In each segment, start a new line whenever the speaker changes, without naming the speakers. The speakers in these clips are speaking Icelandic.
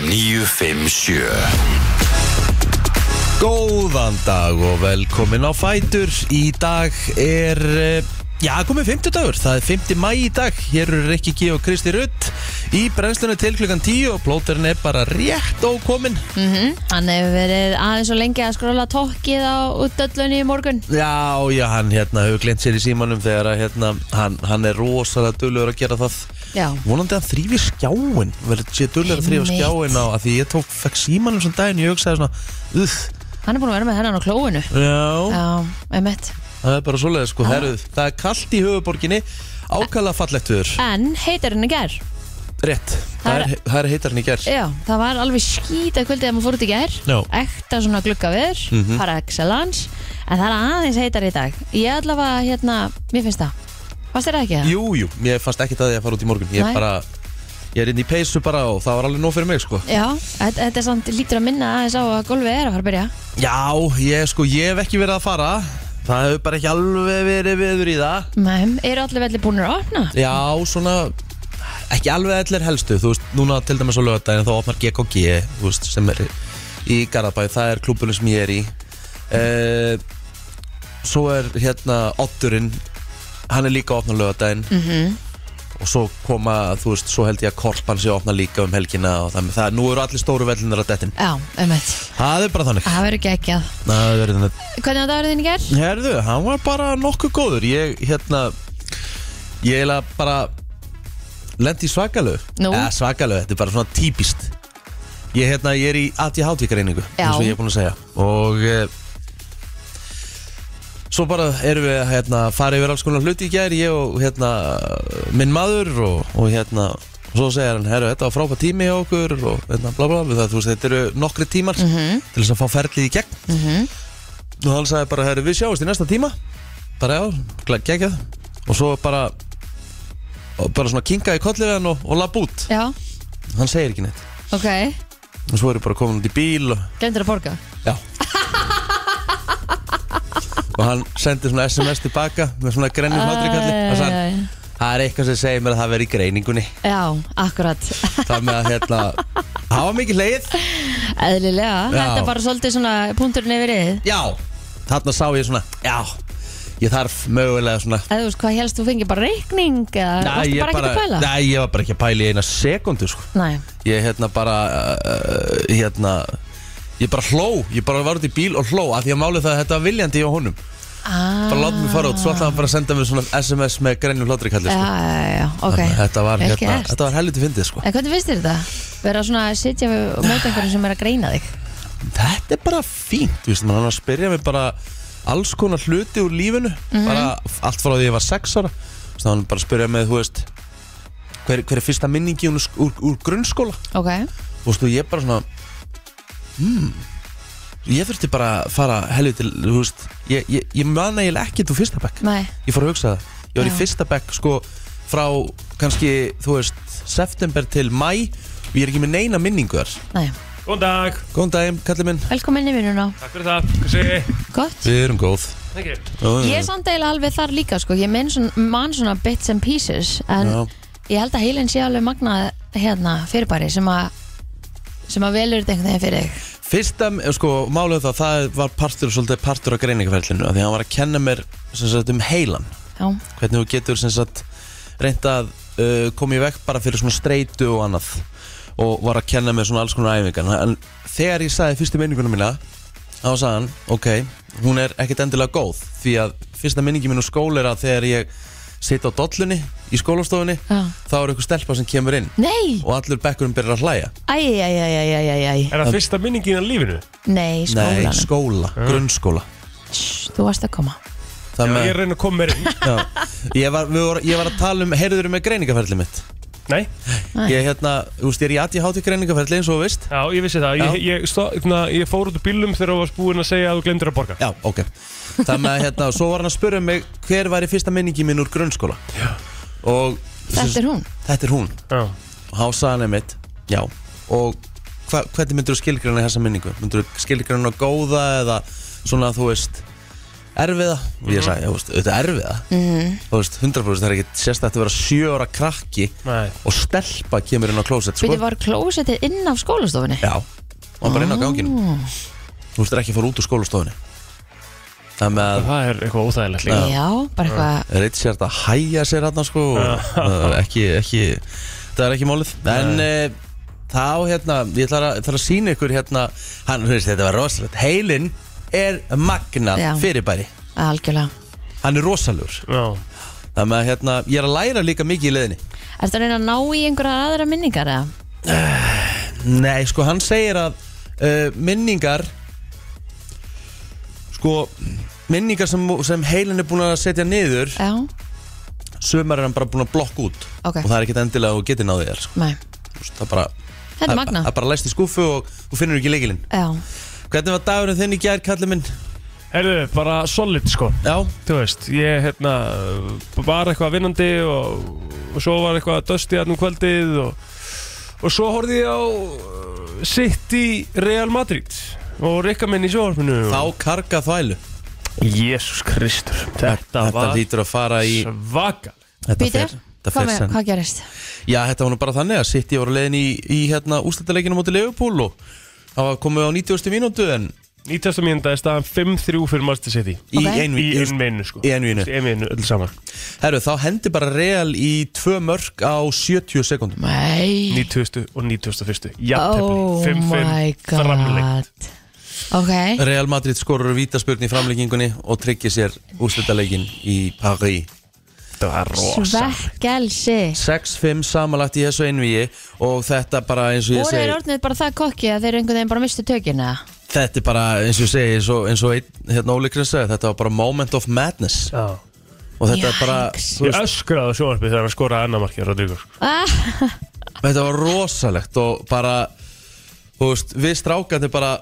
957
Góðan dag og velkomin á Fætur Í dag er, eh, já komið 50 dagur, það er 50 mæ í dag Hér eru Rikki G og Kristi Rutt Í brennslunni til klukkan 10 og plóterinn er bara rétt ókomin
Mhm. Hann hefur verið aðeins og lengi að skróla tokkið á útöllunni í morgun
Já, já, hann hérna hefur glint sér í símanum Þegar að hérna, hann, hann er rosalega dullur að gera það
Já
Vonandi að hann þrýfi skjáin Verður sé dullur að þrýfa
Einmitt.
skjáin á að Því ég tók, fekk símanum sem daginn Ég hugsaði svona, uff,
Hann er búin að vera með hennan á klóinu
já
Já, einmitt
Það er bara svoleiðið sko,
Ah.
herruð Það er kallt í höfuborginni, ákala fallegt viður
En heitar henni ger
Rétt,
Ah. Það er-
það er, það er heitar henni gerð
Já, það var alveg skýta kvöldið að maður fór út í ger
Já. Mhm.
Ekta svona glugga viður Para excellence En það er aðeins heitar í dag Ég allavega, hérna, mér finnst það Fast þér það ekki það?
Jú, jú, ég fannst ekkert að ég að fara út í morgun Ég
Nei.
er bara, ég er inn í peysu bara og það var alveg nóg fyrir mig sko
Já, þetta, þetta er samt lítur að minna aðeins á að golfið er að fara að byrja
Já, ég sko, ég hef ekki verið að fara Það hefur bara ekki alveg verið viður í það
Mæm, eru allir velli búinir að opna?
Já, svona, ekki alveg allir helstu Þú veist, núna til dæmis á lögadaginn þá opnar GKG Þú veist, sem er í Garðabæ Það er klúbunum sem ég er í uh, Svo er hérna Otturinn Hann er líka að opna lögadaginn
Mhm.
og svo koma, þú veist, svo held ég að korpan sé að opna líka um helgina og það, það nú eru allir stóru vellinar að dettin
Já, einmitt
það er bara þannig
Það verður geggjað
það er þannig
Hvernig var dagurinn þinn í ger?
herðu, hann var bara nokkuð góður ég, hérna ég eiginlega bara lendi í svakalög
Nú?
Eða, svakalög, þetta er bara svona típist ég, hérna, ég er í ADHD greiningu
Já.
eins og ég er búin að segja og e, svo bara erum við að hérna, fara yfir alls konar hluti í gær ég og hérna, minn maður og, og hérna og svo segir hann, herru, þetta var frábært tími hjá okkur og hérna, bla bla, bla það, þú veist, þetta eru nokkri tímar
Mhm.
til þess að fá ferlið í gegn og hann sagði bara, herru, við sjáumst í næsta tíma bara já, glæ- geggjað og svo bara og bara svona kinga í kollið við hann og, og lapp út
Já,
hann segir ekki neitt
ok
og svo erum við bara komin út í bíl og,
Glemdur að borga
já og hann sendir svona sms tilbaka með svona grennir hlátrikalli og
Æ,
sagði
æ, æ.
það er eitthvað sem segir mér að það veri í greiningunni
Já, akkurat
það með að hérna hafa mikið leið
Eðlilega,
Já.
þetta er bara svolítið svona punkturinn yfir yfir
já þarna sá ég svona já ég þarf mögulega svona
Eða þú veist hvað helst, þú fengir bara reikning eða varstu
ég
bara ekkert að pæla?
nei, ég var bara ekki að pæla í eina sekundu sko.
Nei,
ég hérna bara uh, hérna ég bara hló, ég bara var út í bíl og hló af því að málið það að þetta var viljandi hjá honum
ah,
bara láta mig fara út, svo ætlaði hann bara að senda mér svona SMS með grænjum hláttrikalli
Já,
sko.
já, já, ok
Þannig að þetta var,
Vel
hérna,
gert.
þetta var helviti fyndið sko.
En hvernig finnst þér þetta? Vera svona að sitja við mót einhverjum sem er að greina þig
þetta er bara fínt, þú veist, mann hann að spyrja mig bara alls konar hluti úr lífinu
Mhm.
bara allt frá því ég var sex ára þannig að hann bara spyrja mig, þú veist hver, hver er fyrsta minningi úr, úr, úr grunnskóla
Ok,
og stu, ég bara svona hmm, ég þurfti bara að fara helviti, þú veist ég, ég, ég man eiginlega ekkert úr fyrsta bekk
nei,
ég fór að hugsa það, ég var
Já.
í fyrsta bekk sko frá kannski, þú veist september til mæ og ég er ekki með neina minningu þar
nei
Góðan dag,
góðan daginn, kallið minn
Velkomin í vinnuna,
takk fyrir það, hvað segir þið?
gott
við erum góð
Takk ég
Ég er samt eiginlega alveg þar líka sko Ég menn svona, man svona bits and pieces En
Já.
ég held að heilin sé alveg magnað hérna fyrirbæri sem að sem að velur þetta einhvern veginn fyrir þig
fyrsta, sko, málið það það var partur, svolítið partur á greiningaferlinu af því að hann var að kenna mér sem sagt um heilan
Já,
hvernig þú getur sem sagt reynt að uh, koma í vekk bara fyrir svona streitu og annað og var að kenna með svona alls konar æfingar en þegar ég sagði fyrstu minninguna mína þá sagði hann, ok, hún er ekkert endilega góð því að fyrsta minningi mín úr skóla er að þegar ég sitt á dollunni í skólastofunni
já
þá er eitthvað stelpa sem kemur inn
Nei,
og allur bekkurinn byrjar að hlæja
æ, æ, æ, æ, æ, æ, æ, æ.
Er það fyrsta minningin á lífinu?
Nei, skólanum
Nei, sko. skóla, grunnskóla
Shh, Þú varst að koma
Það
Já,
með,
ég
ég,
er að reyna að koma mér inn
ég, var, við voru, ég var að tala um, heyrður með greiningaferlið mitt
Nei,
Nei.
Ég hérna, þú veist, ég er í ADHD greiningaferli eins og þú veist
já, ég vissi það Ég,
Já.
ég, stó, na, ég fór út úr bílum þegar þú varst búinn að segja að þú glemdur að borga
Já, ok Þannig að hérna, svo var hann að spyrja mig hver væri fyrsta minningi mín úr grunnskóla Já Og
Þetta er hún
Þetta er hún
Já,
Og Há sagði hann mitt Já Og hva, hvernig myndur þú skilgræna þessa minningu? Myndur þú skilgræna góða eða svona þú veist erfiða og ég sagði, þú veist, þetta er erfiða
Mhm.
þú veist, 100% það er ekki sérstætt að vera sjö ára krakki
Nei.
og stelpa kemur inn á klósett sko.
Byrju, var klósettið inn af skólastofunni?
Já, og hann bara inn á ganginu
Ah.
Þú veist ekki að fara út úr skólastofunni Þannig að
Það er eitthvað óþægilegt líka
Já, bara eitthvað
Richard að hæja sér hann sko, og það er ekki, ekki Það er ekki málið En e, þá hérna, ég ætla að, ætla að sína ykkur hérna Hann, þú veist, þetta var rosalegt Heilinn er magnað
Já.
fyrirbæri
algjörlega
Hann er rosalur
Já,
Þannig að hérna, ég er að læra líka mikið í leðinni
Ertu að reyna að ná í einhverja aðra minningar eða?
Nei, sko hann segir að uh, minningar sko minningar sem, sem heilin er búin að setja niður
Já,
sömur er hann bara búin að blokka út
Ok.
og það er ekkert endilega að þú geti náðið þér sko.
nei,
Þú veist, það er bara
þetta er
það-
magna
það er bara læst í skúfu og þú finnur ekki leikilinn
Já,
Hvernig var dagurinn þinn í gær, kallið minn?
herðu, bara solid sko
Já,
Þú veist, ég hérna var eitthvað vinnandi og, og svo var eitthvað dösti hann um kvöldið og, og svo horfði ég á uh, City Real Madrid og rikka minn í sjóhorfinu
þá
og...
karga þvælu
Jésús Kristur, þetta
Þetta
var
lítur að fara í
svakal
Þetta
býtir,
fer, þetta
hvað,
fer
með-
senn
hvað gerist?
Já, þetta var nú bara þannig að City voru leiðin í, í hérna, úsletaleginu mútið Leopold og það var komið á 90. mínútu en
Nýtasta mínda er staðan 5-3 fyrir Master City
í
Ok.
einu
Í
þú veist,
einvinu sko
Í einvínu.
einvinu, öll saman
Herru, þá hendi bara Real í tvö mörk á 70 sekundum
Nei
90 og 91
Oh
Jafntefli, 5-5
my
framlengt.
god Ok,
Real Madrid skorur vítaspurn í framleggingunni og tryggir sér úrslitaleikin í Paris
Þetta var rosa
svekkelsi
6-5 samanlagt í þessu einvíi og þetta bara eins og ég
Voru þeir
segi
orðnið bara það kokki að þeir einhvern veginn bara mistu tökina
þetta er bara eins og ég segi eins og, eins og einn, hérna Óli Krins sagði, þetta var bara moment of madness
Já
og þetta er bara
Yikes.
þú
Ég
veist,
öskraði á sjónvarpið þegar hann skoraði annar markið Rodrigo sko.
ah,
þetta var rosalegt og bara þú veist, við strákandi bara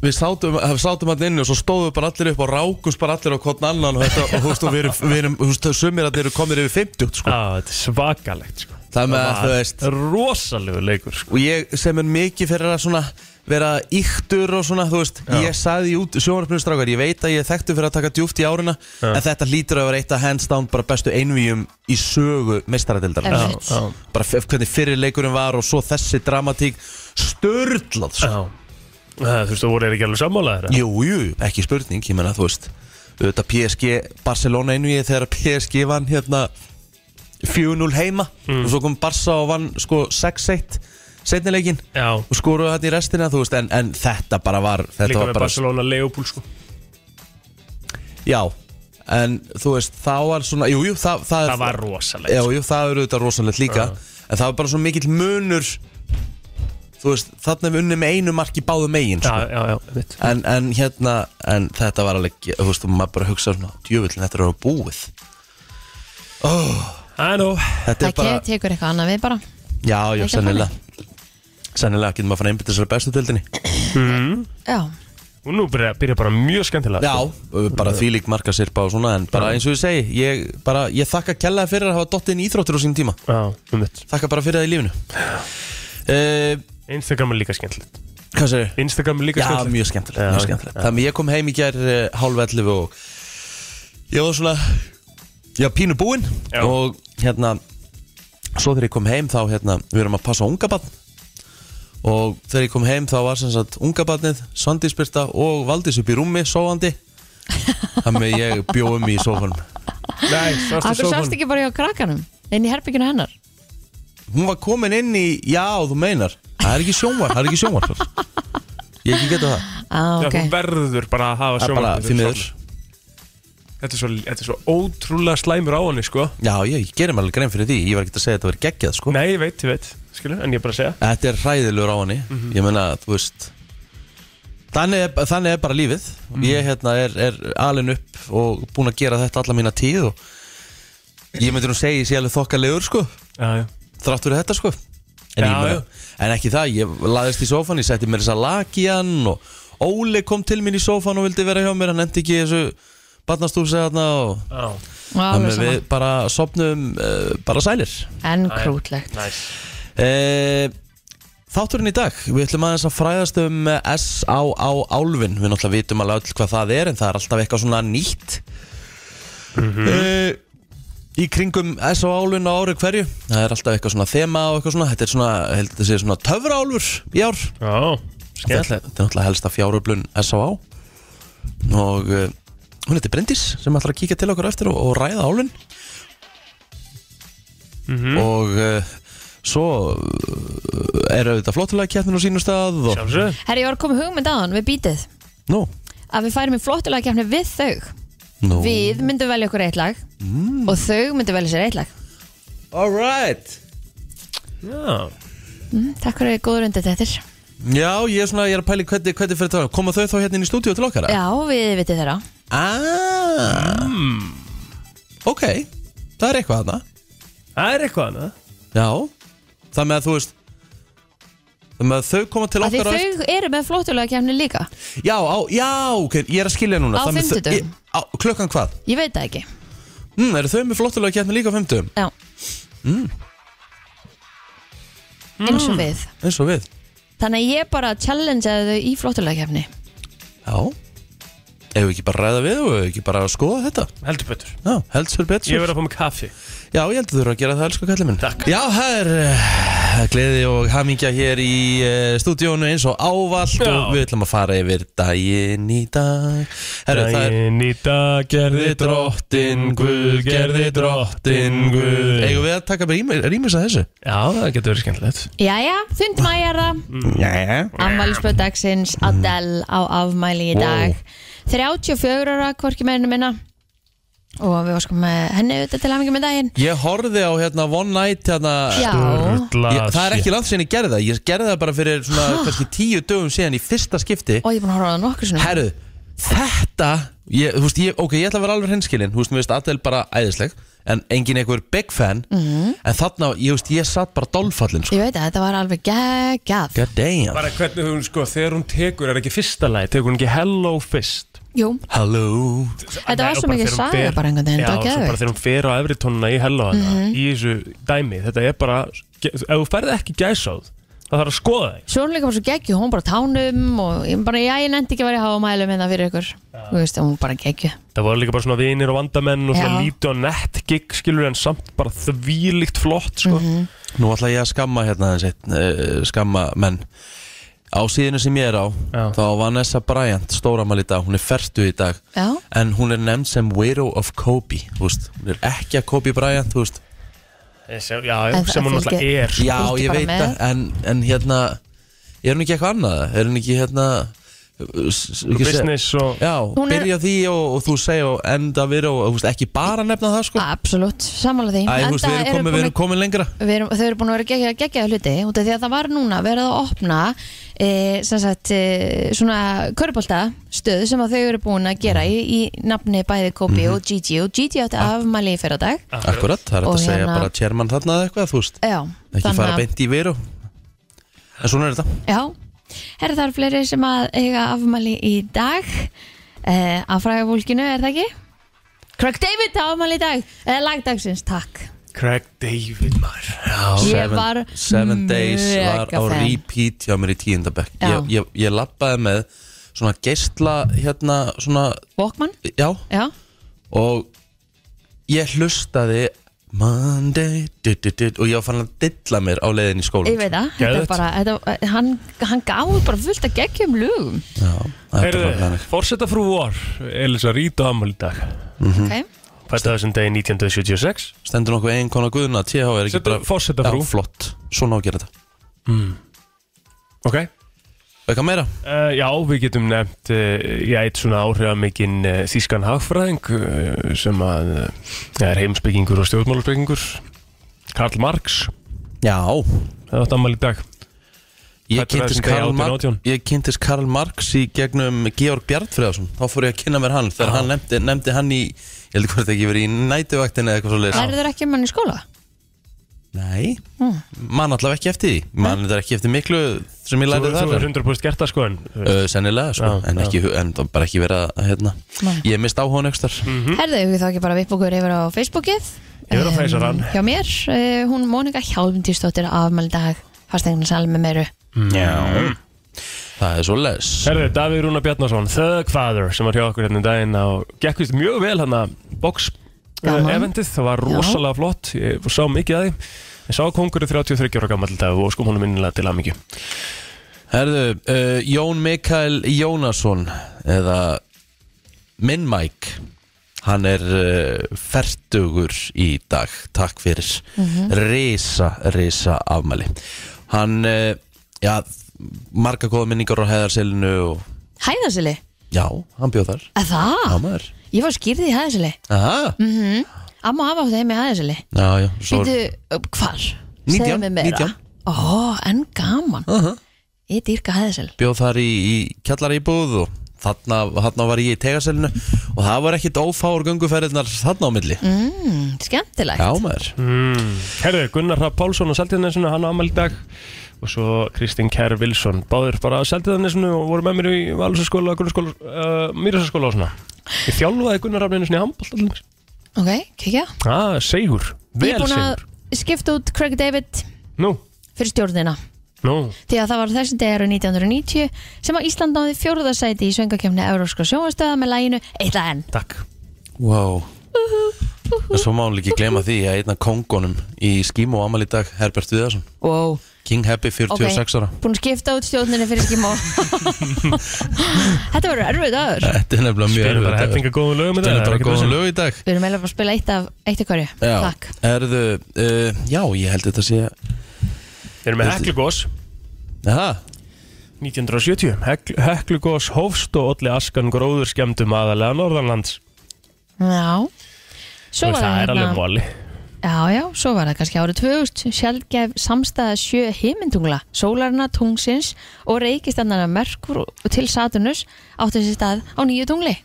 við sátum, sátum allir inni og svo stóðum bara allir upp og rákust bara allir á hvort annan og þetta, og þú veist, og við erum, við erum þú veist, sumir að þeir eru komir yfir 50, sko
Á, þetta er svakalegt sko
Það með að, þú
var
veist.
Rosalegu leikur sko
og ég sem er mikið fyrir að svona vera íktur og svona, þú veist ég saði út sjónarpnum strákar, ég veit að ég er þekktu fyrir að taka djúft í árina en þetta hlýtur að vera eitt af hands down bara bestu einvíum í sögu meistaradildar
Já.
bara f- hvernig fyrir leikurinn var og svo þessi dramatík störlað sko.
Já Það, Eh, Þú veist, þú voru þeir ekki alveg sammála þeirra
jú, jú, ekki spurning, ég menna, þú veist auðvitað PSG, Barcelona einvíi þegar PSG vann hérna 4-0 heima og svo kom Barca og vann sko 6-1 setnilegin
Já
og skoruðu þetta í restina þú veist, en, en þetta bara var þetta
Líka
var
með
bara,
Barcelona Leopold sko
já en þú veist, þá var svona jú, jú, það, það, er-
Það var rosalegt sko.
já, jú, það eru þetta rosalegt líka en það var bara svo mikill munur þú veist, þarna við unnum með einu marki báðu megin
Já,
sko.
já, já, mitt
en, en hérna, en þetta var alveg þú veist, og maður bara hugsa svona, djöfullin þetta er að vera búið
I know
þetta
Það
er bara,
bara... tekur eitthvað annað við bara
já, já,
ekki að
sennilega sennilega getur maður að fara einbytta sér bestu tildinni
Já,
Og nú byrja, byrja bara mjög skemmtilega
Já, bara því lík marka sirpa og svona En bara eins og ég segi Ég, bara, ég þakka kellaði fyrir að hafa dottinn í íþróttir á sín tíma
sko. Já, um mitt
Þakka bara fyrir það í lífinu uh,
Instagram er líka skemmtilegt
Hvað segir þið?
Instagram er líka
Já,
skemmtilegt
mjög skemmtilegt,
Já,
mjög
ok.
skemmtilegt.
Já.
Þannig ég kom heim í gær uh, hálf 11 og Ég var svona Já, pínu búinn
Já.
Og hérna Svo þegar ég kom heim þá hérna Við erum að passa á unga barn Og þegar ég kom heim þá var sem sagt unga barnið Svandísbyrta og Valdís upp í rúmi Sóandi Þannig að ég bjóðum í sófanum
Nei, svartu
akkur sást
sófann
ekki bara hjá krakkanum inn í herbygginu hennar
Hún var komin inn í, já þú meinar Það er ekki sjónvarp, það er ekki sjónvarp Ég ekki geta það
ah,
Já,
okay.
þú verður bara að hafa
Það er bara
sjónvarpið
því
fyrir
miður
sófann. Þetta er svo, þetta er svo ótrúlega slæmur á henni, sko
Já, ég, ég gerir mér alveg grein fyrir því Ég var ekki að segja að þetta verið geggjað sko
Nei, ég veit, ég veit, skilur, en ég er bara að segja
Þetta er hræðilegur á henni
Mhm.
Ég meina, þú veist Þannig er, þannig er bara lífið
Mhm.
Ég hérna, er, er alin upp og búin að gera þetta alla mína tíð og Ég myndi nú segja, ég sé alveg þokkalegur sko
Já, já
Þrátt fyrir þetta sko En,
Já,
ég meina,
já.
en ekki það, ég laðist í sófan Ég setti mér þess að laki hann og Óli kom til mín í sófan og vildi vera hjá mér Hann endi ekki í þessu barnastúsi þarna og
Já,
Alveg
Þannig að
sama.
við bara sopnum uh, bara sælir
En krútlegt
næs
Eh, Þátturinn í dag, við ætlum aðeins að fræðast um eh, S.A.A. Álfin Við náttúrulega vitum alveg öll hvað það er En það er alltaf eitthvað svona nýtt Eh, Í kringum S.A.A. Álfin á ári hverju Það er alltaf eitthvað svona þema og eitthvað svona Þetta er svona, ég held að þetta sé svona töfraálfur í ár
Já,
Þetta er þetta er náttúrulega helsta fjáröflun S.A.A. Og uh, hún heitir Bryndís sem ætlar að kíkja til okkur eftir og, og ræða álfin Og uh, svo eh, er auðvitað flottulega keppnin á sínum stað og,
sjálfsög
Herri, ég var að koma hugmynd á hann við bítið
Nú,
að við færum í flottulega kemni við þau
nú
Við myndum velja okkur eitt lag og þau myndum velja sér eitt lag
Alright
Já,
mm, Takk fyrir góður undir þetta
Já, ég er svona, ég er að pæli hvernig, hvernig fyrir það Koma þau þá hérna inn í stúdíu til okkar?
Já, við vitið þeirra
Ah, Ok, það er eitthvað þarna
það er eitthvað annað
Já, það með að þú veist Það með að þau koma til
Af því
okkar á eftir-
þau eru með flottulega kemni líka
Já, á, já, ok, ég er að skilja núna
Á
Það með þau-
fimmtudögum.
ég- á, Klukkan hvað?
Ég veit það ekki
Mm, eru þau með flottulega keppni líka á fymtum?
Já Eins og við
Eins og við
Þannig að ég bara challengeaði þau í flottulega kemni
Já Ef við ekki bara ræða við og ef við ekki bara að skoða þetta
Heldur betur
Já, helst fyrir betur
Ég verð að fá mig kaffi
Já, ég heldur þú eru að gera það, elsku kallið minn
Takk.
Já, það er uh, gleði og hamingja hér í uh, stúdíónu eins og ávallt
Já.
og við ætlum að fara yfir daginn í dag Herru, það er
Daginn í dag gerði drottin Guð gerði drottin Guð
Eigum við að taka bara rýmis að þessu?
Já, það getur verið skemmtilegt
Jæja, 5. mæjara
Jæja
Afmælisböð dagsins Adele á afmæli í dag 34 ára, hvorki meirinu minna Og við varskum með henni auðvitað til hamingi með daginn
Ég horfði á hérna One Night hérna
Já,
Ég, það er ekki langt síðan ég gerði það Ég gerði það bara fyrir svona kannski tíu dögum síðan í fyrsta skipti
og ég er búin að horfa á það nokkur sinni
Herru, þetta ég, þú veist, ég, Ok, ég ætla að vera alveg hinskilin Þú veist, mér veist Adele bara æðisleg En engin einhver big fan
Mhm.
En þarna, ég veist, ég satt bara dolfallin sko.
Ég veit að þetta var alveg geggjaf
God damn
Bara hvernig hún sko, þegar hún tekur er ekki fyrsta lagi Tekur hún ekki hello fyrst
Jú,
Hello
Þetta var
Nei, og
svo
bara
mikið
þegar hún
saga
fer-
bara einhvern veginn,
Já,
það var
svo bara
geðveikt. Mhm.
þegar hún fer á efri tónuna í hello hana Í þessu dæmi, þetta er bara Ef þú ferð ekki gæsáð Það þarf að skoða þig
svo er hún líka bara svo geggju, hún bara á tánum og ég bara, já, ég nefndi ekki að vera í háamælum hérna fyrir ykkur Þú veist, hún bara geggju
Það voru líka bara svona vinir og vandamenn Og svona
Já.
lítið og nett gig skilur En samt bara þvílíkt flott sko.
Mhm.
Nú ætla ég að skamma hérna þessi uh, Skamma menn Á síðinu sem ég er á
Já.
Þá var Vanessa Bryant, stóramæli í dag Hún er fertu í dag
Já,
En hún er nefnd sem Widow of Kobe Þú veist, hún er ekki að Kobe Bryant Þú veist
Eh, sem, Já,
En það
sem hún
fylgir-
alltaf er sko.
Já,
Fylgdi
ég
bara
veit
með.
það, en, en hérna Er hún ekki eitthvað annað? Er hún ekki hérna s- s- ekki se-
Business og
Já,
Hún er-
byrja því og, og þú segja og enda við og þú veist, ekki bara nefna það sko
absolutt, sammála því
Æ, þú veist,
Enda
við erum
eru búin
komin, við
að
erum komin lengra
við erum, þau eru búin að vera geggja, geggja hluti út af því að það var núna verið að opna e, sem sagt e, svona körbóltastöð sem að þau eru búin að gera í, í nafni bæði Kobi
Mhm.
og Gigi og Gigi átti afmæli í fyrradag
Akkurat, það er hægt
Og
að segja
hérna-
bara chairman þarna eða eitthvað, þú veist
Já,
Ekki
þannig
fara
að-
beint í veru En svona er þetta
Já, er það fleiri sem að eiga afmæli í dag e, að fræga fólkinu, er það ekki? Craig David á afmæli í dag eða lagdagsins, takk
Craig David maður
Ég
Seven,
var
seven Days
mega
var á
fan.
repeat hjá mér í tíundabekk
Já.
ég, ég, ég labbaði með svona geisla hérna svona,
Walkman,
já,
já,
og ég hlustaði Monday du, du, du, og ég var fann að dilla mér á leiðin í skóla
ég veit það þetta er
Geðveikt.
bara, þetta, hann, hann gáði bara fullt að geggjum lögum
Já, það er bara
Heyrðu,
þannig.
fórseta frú vor Elisa Rít á ammali dag
Mhm.
okay.
Fættu þessum degi 1976
stendur nokkuð ein konar guðuna TH er ekki
Setur forseta
já,
frú.
flott, svona á að gera þetta
Ok
eitthvað meira,
Uh, já, við getum nefnt uh, ég eitt svona áhrifamikinn uh, þýskan hagfræðing uh, sem að uh, er heimsbyggingur og stjórnmálusbyggingur Karl Marx
já
það átt ammali dag
ég
Fæddur
kynntist,
þessum degi
Karl
1818.
Marx, ég kynntist Karl Marx í gegnum Georg Bjartfriðarsson, þá fór ég að kynna mér hann
Ah.
þegar hann nefndi, nefndi hann í ég held hvort ekki verið í nætuvaktin eða eitthvað svo leiðis
Lærið þér ekki um hann í skóla?
nei, mann allavega ekki eftir því mann þetta ekki eftir miklu sem ég
Þú
lærði
þú
þar
er
en-
100% gert það sko en uh,
Uh, sennilega, sko,
Já,
en,
já.
ekki, en það bara ekki verið að, hérna,
Nei.
ég mist áhuga nextar
Mhm.
mm.
Herðu, eigum við þá ekki bara vipp okkur yfir á Facebookið
Yfir á Facebookan.
Em, Hjá mér, eh, hún Mónika Hjálmdýrsdóttir afmæli í dag, fastegna salmi meiru
Já Það er svo les
Herðu, Davíð Rúna Bjarnason, Thug Father sem var hjá okkur hérna um daginn og gekk vist mjög vel hann að box uh,
Gaman.
eventið, það var rosalega flott ég sá mikið að því ég sá kongur 33 ára gammal dag og skum honum minnilega til að mikið
Herðu, uh, Jón Mikael Jónasson eða minn Mike hann er uh, fertugur í dag, takk fyrir risa, risa afmæli hann, uh, já marga góða minningar á hæðarselinu og
Hæðasili,
já, hann bjóð þar
að það?
Já, maður.
Ég var skýrði í hæðasili
Aha,
Amma og afa áttu heim í hæðasili
já, já, svo
Býtu, hvar?
19,
Segðu mér meira.
19.
Ó, en gaman
uh -huh.
Ég dýrka hæðasili
bjóð þar í, í kjallara og þarna, þarna var ég í tegaselinu og það var ekkit ófáur gunguferðinar þarna á milli
mm, Skemmtilegt
já maður
mm. Herðu, Gunnar Rapp Pálsson og Seldiðnessinu, hann ammæli dag og svo Kristín Kær Vilsson báður bara að Seldiðnessinu og voru með mér í Valsaskóla, Gunnarskóla, uh, Mýrasaskóla og svona ég þjálfaði Gunnar Rapp einu sinni handbólt allir
Ok, kekja
ah, segur,
Ég er
vel
búin
segur
að skipta út Craig David
nú,
fyrir stjórnina
nú,
því að það var þessi degar 1990 sem að Ísland náði fjórðasæti í söngakefni Európska sjónvastöða með læginu Eitla enn
takk
Wow
Uh-huh.
En svo má hún ekki glema því að einna kongunum í skímu og amal í dag, Herbert Viðarsson
wow.
King Happy 46 ára
Búin að skipta út stjórnina fyrir skimó Þetta verður erfið dagur
Þetta er nefnilega mjög
Spilum bara
erfitt dagur.
hefninga góðum lögum í
Þetta
dag,
er
það
bara
ekki
góðan
vesen.
lög í dag
Við erum eiginlega bara að spila eitt af eitt af hverju
Já,
Takk
erðu, uh, já, ég held þetta sé
Við erum með Heklugós
Aha,
1970 Hekl, Heklugós hófst og olli askan gróður skemmtum aðalega Norðanlands
Já Svo
Og
var
Það er alveg
hérna-
móli
Já, já, svo var það kannski árið 2000 sjálfgæf samstæða sjö heimintungla sólarna, tungsins og reikistannana Merkur og- til Saturnus áttu þessi stað á nýju tungli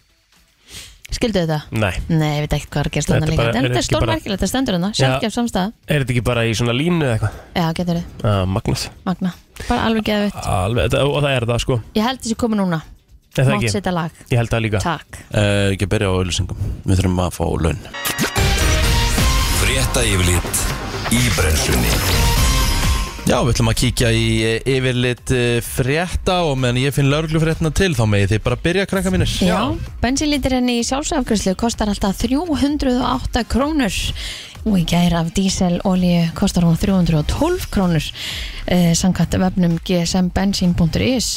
Skildu þetta?
Nei,
Nei, ég veit ekkert hvað er að gera
Þetta
stanna
er
líka
bara-
En þetta
er
er
ekki bara-
stórmerkilegt, þetta stendur hérna. hana sjálfgæf samstæða
er þetta ekki bara í svona línu eða eitthvað?
Já, getur þið,
Ah, Magnað
magna Bara alveg geðvitt
Alveg, þetta, og það er það sko
Ég held þessi komið núna,
Er það
mátt
ekki?
setja lag
Ég held það líka
Takk
uh, ekki að byrja á auðlýsingum Við þurfum að fá laun
Frétta yfirlit í brennslunni
Já, við ætlum að kíkja í eh, yfirlit eh, frétta og meðan ég finn lauruglufréttina til þá megið þið bara byrja krakka mínir
Já, bensínlítirinn í sjálfsafgjörslu kostar alltaf 308 krónur og í gær af díselolíu kostar hún 312 krónur eh, samkvæmt vefnum gsmbensin.is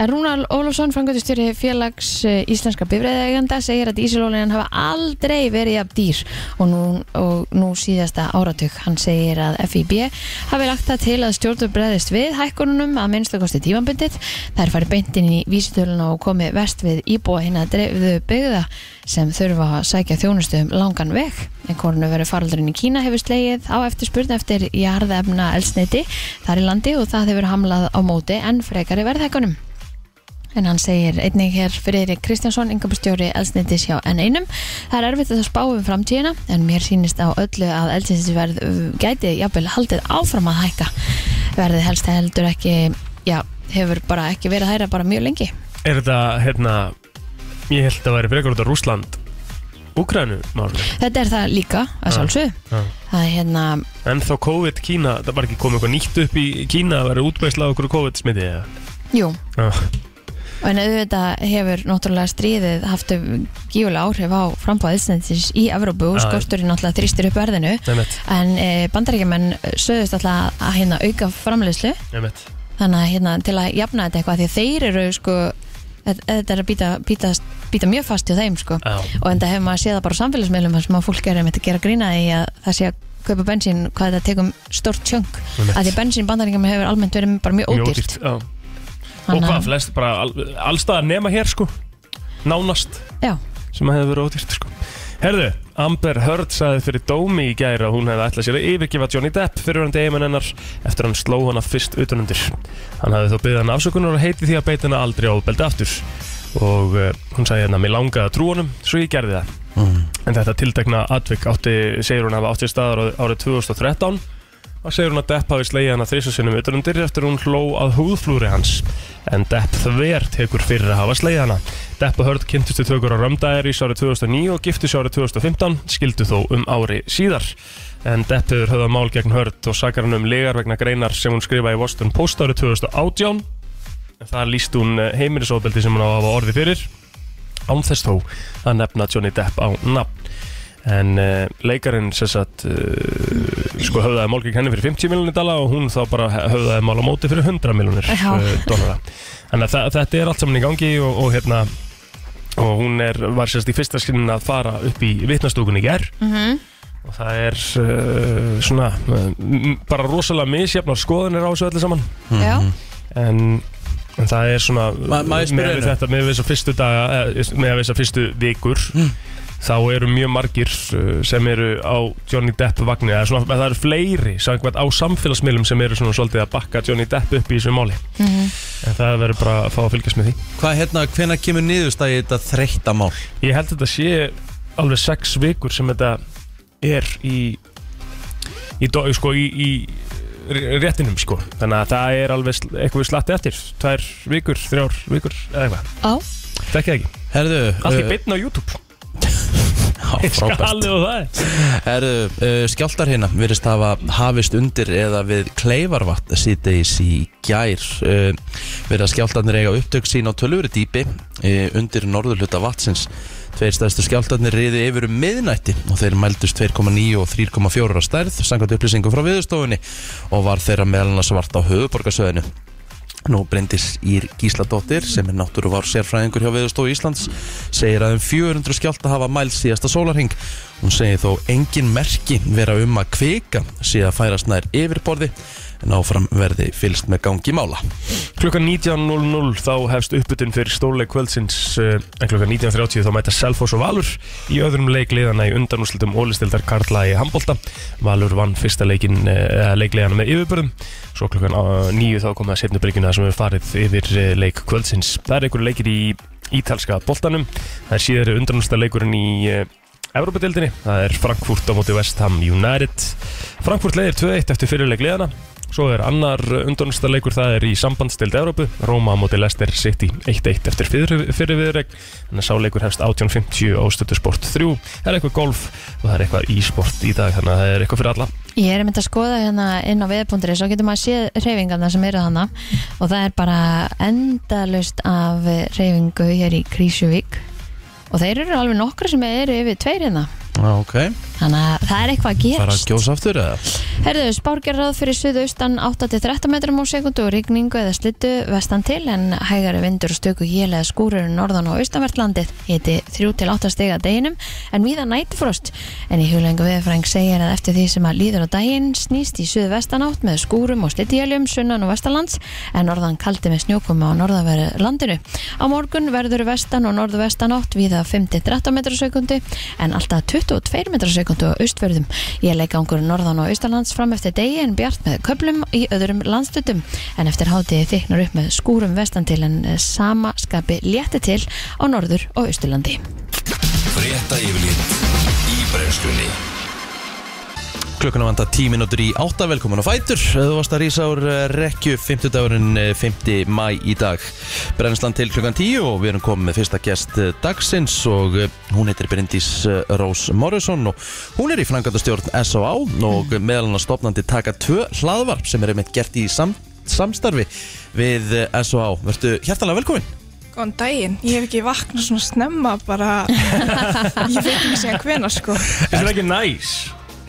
En Rúnar Ólafsson, frangöndustjóri félags eh, íslenska bifræðegenda segir að díselolían hafa aldrei verið af dýr og nú, og nú síðasta áratug hann segir að FIB hafi lagt það til að stjórnum bregðist við hækkununum að minnstakosti tímanbundið þær fari beint inn í vísitöluna og komi vest við íbúa hinn að dreifðu byggða sem þurfa að sækja þjónustu um langan veg en kornu verið faraldurinn í Kína hefur slegið á eftirspurn eftir jarðefna elsneiti þar í landi og það hefur hamlað á móti en frekari verðhækkunum En hann segir einnig hér Friðrik Kristjánsson, yngöpustjóri eldsnittis hjá N1. Það er erfitt að spá um framtíðina en mér sýnist á öllu að eldsnittisverð uh, gæti jafnvel haldið áfram að hækka. Verðið helst heldur ekki, já, hefur bara ekki verið hæra bara mjög lengi.
Er þetta, hérna Ég held að það væri frekar út af Rúsland Úkrænu málum
Þetta er það líka að sjálfsögðu.
já.
Það er hérna,
En þá COVID Kína, það var ekki komið eitthvað nýtt upp í Kína að vera útbæðsla á okkur COVID smiti eða?
jú,
Ah,
en auðvitað hefur náttúrulega stríðið haft gífulega áhrif á frambáð eldsnittis í Evrópu og
Já.
skorturinn náttúrulega þrýstir upp verðinu.
nefnett,
En e, bandaríkjumenn sögðust alltaf að hérna auka framleiðslu
nefnett
þannig að hérna til að jafna þetta eitthvað því að þeir eru sko þe- þetta er að býta, býta, býta mjög fast hjá þeim sko
Já,
og enda hefur maður séð það bara á samfélagsmiðlum þar sem að fólk er einmitt að gera grína í að það sé að kaupa bensín hvað þetta tekum stórt tjöng
Einmitt.
að því bensín bandaríkjumenn hefur almennt verið bara mjög
mjög
ódýrt
já. Og
Þannig að-
hvað flest, bara all, allstaðar nema hér sko Nánast
Já.
Sem hefði verið ódýrt sko Herðu, Amber Heard sagði fyrir dómi í gæra að hún hefði ætlað sér að yfirgefa Johnny Depp fyrir hann degjumenn hennar eftir að hann sló hana fyrst utanundir. Hann hafði þó byggðið hann afsökunar og heiti því að beita hana aldrei ofbeldi aftur. Og uh, hún sagði hérna, mér langaði að trú honum, svo ég gerði það.
Mm.
En þetta tiltekna atvik átti, segir hún hafa átti staðar árið 2013 Þá segir hún að Depp hafi slegið hana þrísasunum utanundir eftir hún hló að húðflúri hans. En Depp þver tekur fyrir að hafa slegið hana. Depp og Hörð kynntustu tökur á Römdæris árið 2009 og giftustu árið 2015, skildu þó um ári síðar. En Depp hefur höfðað mál gegn Hörð og sakar hann um legar vegna greinar sem hún skrifaði í Washington Post árið 2018. En þar líst hún eh, heimilisofbeldi sem hún á að hafa orði fyrir. Án þess þó að nefna Johnny Depp á nafn. En uh, leikarinn sem sagt uh, sko höfðaði mál gegn henni fyrir 50 miljonir dala og hún þá bara höfðaði mál á móti fyrir 100 miljonir
Já.
uh, dollara. Þannig að þa- þetta er allt saman í gangi og, og hérna og hún er, var sérst í fyrsta skilin að fara upp í vitnastúkun í ger
Mhm.
og það er uh, svona uh, m- bara rosalega misjafnar skoðanir á þessu öllu saman
mm,
Já,
en, en það er svona
Ma- má ég spyrja
með
einu?
þetta, með þess að fyrstu daga eh, með þess að fyrstu vikur þá eru mjög margir eh, sem eru á Johnny Depp vagnir það, svona, það eru fleiri samkvæmt á samfélagsmiðlum sem eru svona svolítið að bakka Johnny Depp upp í þessu máli en það verður bara að fá að fylgjast með því
Hvað hérna, hvenær kemur niðurstæði þetta þreytta mál?
ég held að þetta sé alveg sex vikur sem þetta er í í, do, sko, í, í ré- réttinum sko þannig að það er alveg sl- eitthvað við slatti eftir tvær vikur, þrjár vikur eða eitthvað,
á,
þekki það ekki
Herðu,
allt í
uh,
bitna á YouTube,
á, frábært.
skalið og það er
Herðu, uh, skjáltar hérna virðist hafa hafist undir eða við kleifarvatt síðdeis í gær uh, verið að skjáltarnir eiga upptök sín á tölvöru dýpi uh, undir norðurluta vatsins Tveir stærstu skjáltarnir riði yfir um miðnætti og þeir mældust 2,9 og 3,4 á stærð sangat upplýsingum frá viðustofunni og var þeirra meðlana svart á höfuborgarsöðinu Nú Bryndis Ír Gísladóttir sem er náttúruvár sérfræðingur hjá Veðurstofu Íslands segir að um 400 skjálta hafa mælt síðasta sólarhing. Hún segir þó engin merki vera um að kvika síðan færast nær yfirborði en áfram verði fylst með gangi mála.
Klukkan 19.00 þá hefst uppbytun fyrir stórleik kvöldsins eh, en klukkan 19.30 þá mæta Selfoss og Valur í öðrum leikliðana í undanúslutum ólistildar Karla í Hambolta Valur vann fyrsta leikin, eh, eða leikliðana með yfirbörðum svo klukkan eh, 9 þá komið að setnu byrgjuna sem hefur farið yfir eh, leik kvöldsins það er einhverju leikir í ítalska boltanum það er síðar undanúslita leikurinn í eh, Evrópadeildinni, það er Frankfurt á móti West Ham United Frankfurt leiðir 2-1 eftir fyrirleik liðana Svo er annar undanústa leikur, það er í sambandstild Evrópu, Róma á móti Leicester City 1-1 eftir fyrir, fyrir viðreg þannig að sá leikur hefst 18.50 á stötu sport 3, það er eitthvað golf og það er eitthvað e-sport í dag, þannig að það er eitthvað fyrir alla
ég er mynd að skoða hérna inn á veðbúndri svo getur maður séð reyfingarna sem eru hana og það er bara endalust af reyfingu hér í Krísuvík og þeir eru alveg nokkra sem eru yfir tveir hérna
Ok,
þannig að það er eitthvað að
fara að
gerast
gjósa aftur eða?
Herðu, spár gerir ráð fyrir suðaustan 8-13 metrum á sekundu og rigningu eða slittu vestan til en hægari vindur og stöku hél eða skúrur um norðan og austanvertlandið hiti 3-8 stiga deginum en víða nætfrost en í huglengu viðfræng segir að eftir því sem að líður á daginn snýst í suðvestan átt með skúrum og slittuhjæljum sunnan og vestanlands en norðan kaldi með snjókuma á norðanverðu landinu. Á morgun verður vestan og norðvestan átt víða 5-13 metrar á sekundu en alltaf 22 metrar á sekundu á austverðum. Ég leik ángur norðan og austalands fram eftir degi en bjart með köplum í öðrum landstutum en eftir hátíði þyknar upp með skúrum vestan til en eh, sama skapi létti til á norður og austurlandi.
Frétta yfirlit í brennslunni
Klukkan að vanda 10 minútur í 8, velkomin á Fætur Þú varst að rísa úr eh, rekju 50 dagurinn 5. mæ í dag Brennslan til klukkan 10 og við erum komið með fyrsta gest eh, dagsins og eh, hún heitir Bryndís eh, Rós Morrison og hún er í frangatastjórn S.O.A. og meðal hann stofnandi taka 2 hlaðvarp sem er einmitt gert í sam samstarfi við eh, S.O.A. Vertu hjertalega velkomin
Góðan daginn, ég hef ekki vaknað svona snemma bara, ég veit ekki segja hvena sko.
Þetta er ekki næs